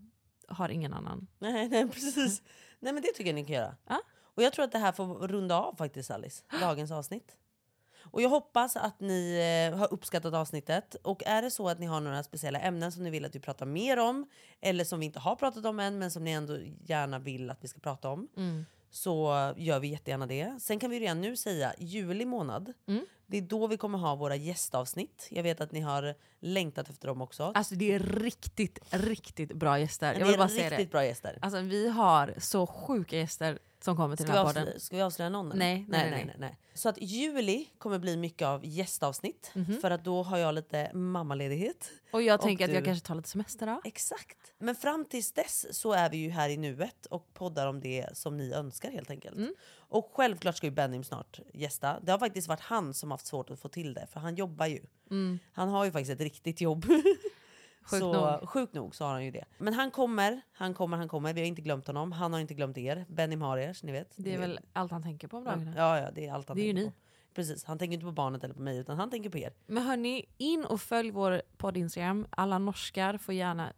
har ingen annan. Nej, nej precis. nej men det tycker jag ni kan göra. Och jag tror att det här får runda av faktiskt Alice, dagens avsnitt. Och jag hoppas att ni eh, har uppskattat avsnittet. Och är det så att ni har några speciella ämnen som ni vill att vi pratar mer om, eller som vi inte har pratat om än men som ni ändå gärna vill att vi ska prata om, Mm. Mm. så gör vi jättegärna det. Sen kan vi redan nu säga juli månad Det är då vi kommer ha våra gästavsnitt. Jag vet att ni har längtat efter dem också. Alltså det är riktigt, riktigt bra gäster. Det Jag vill är bara säga det. riktigt bra gäster. Alltså vi har så sjuka gäster som kommer till Ska vi, den här podden. avslöja, ska vi avslöja någon? eller? Nej, nej, nej, Så att juli kommer bli mycket av gästavsnitt. Mhm. För att då har jag lite mammaledighet. Och jag tänker att jag du- kanske tar lite semester då. Exakt. Men fram tills dess så är vi ju här i nuet och poddar om det som ni önskar helt enkelt. Mm. Och självklart ska ju Benim snart gästa. Det har faktiskt varit han som haft svårt att få till det för han jobbar ju. Mm. Han har ju faktiskt ett riktigt jobb. Sjukt så, nog. Sjukt nog så har han ju det. Men han kommer, han kommer, han kommer. Vi har inte glömt honom. Han har inte glömt er. Benim har er, så ni vet. Det är väl allt han tänker på om dagarna. Ja, ja, det är allt han Det är ju tänker ni. på. Precis, han tänker inte på barnet eller på mig utan han tänker på er. Men hörni, in och följ vår podd Instagram. Alla norskar får gärna,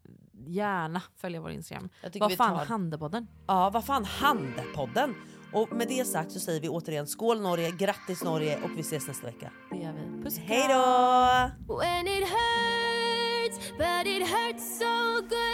gärna följa vår Instagram. Jag tycker Vad vi fan tar- handepodden? Ja, vad fan Handepodden? Och med det sagt så säger vi återigen skål Norge, grattis Norge och vi ses nästa vecka. Det gör vi. Puss och Hej då! When it hurts, but it hurts so good.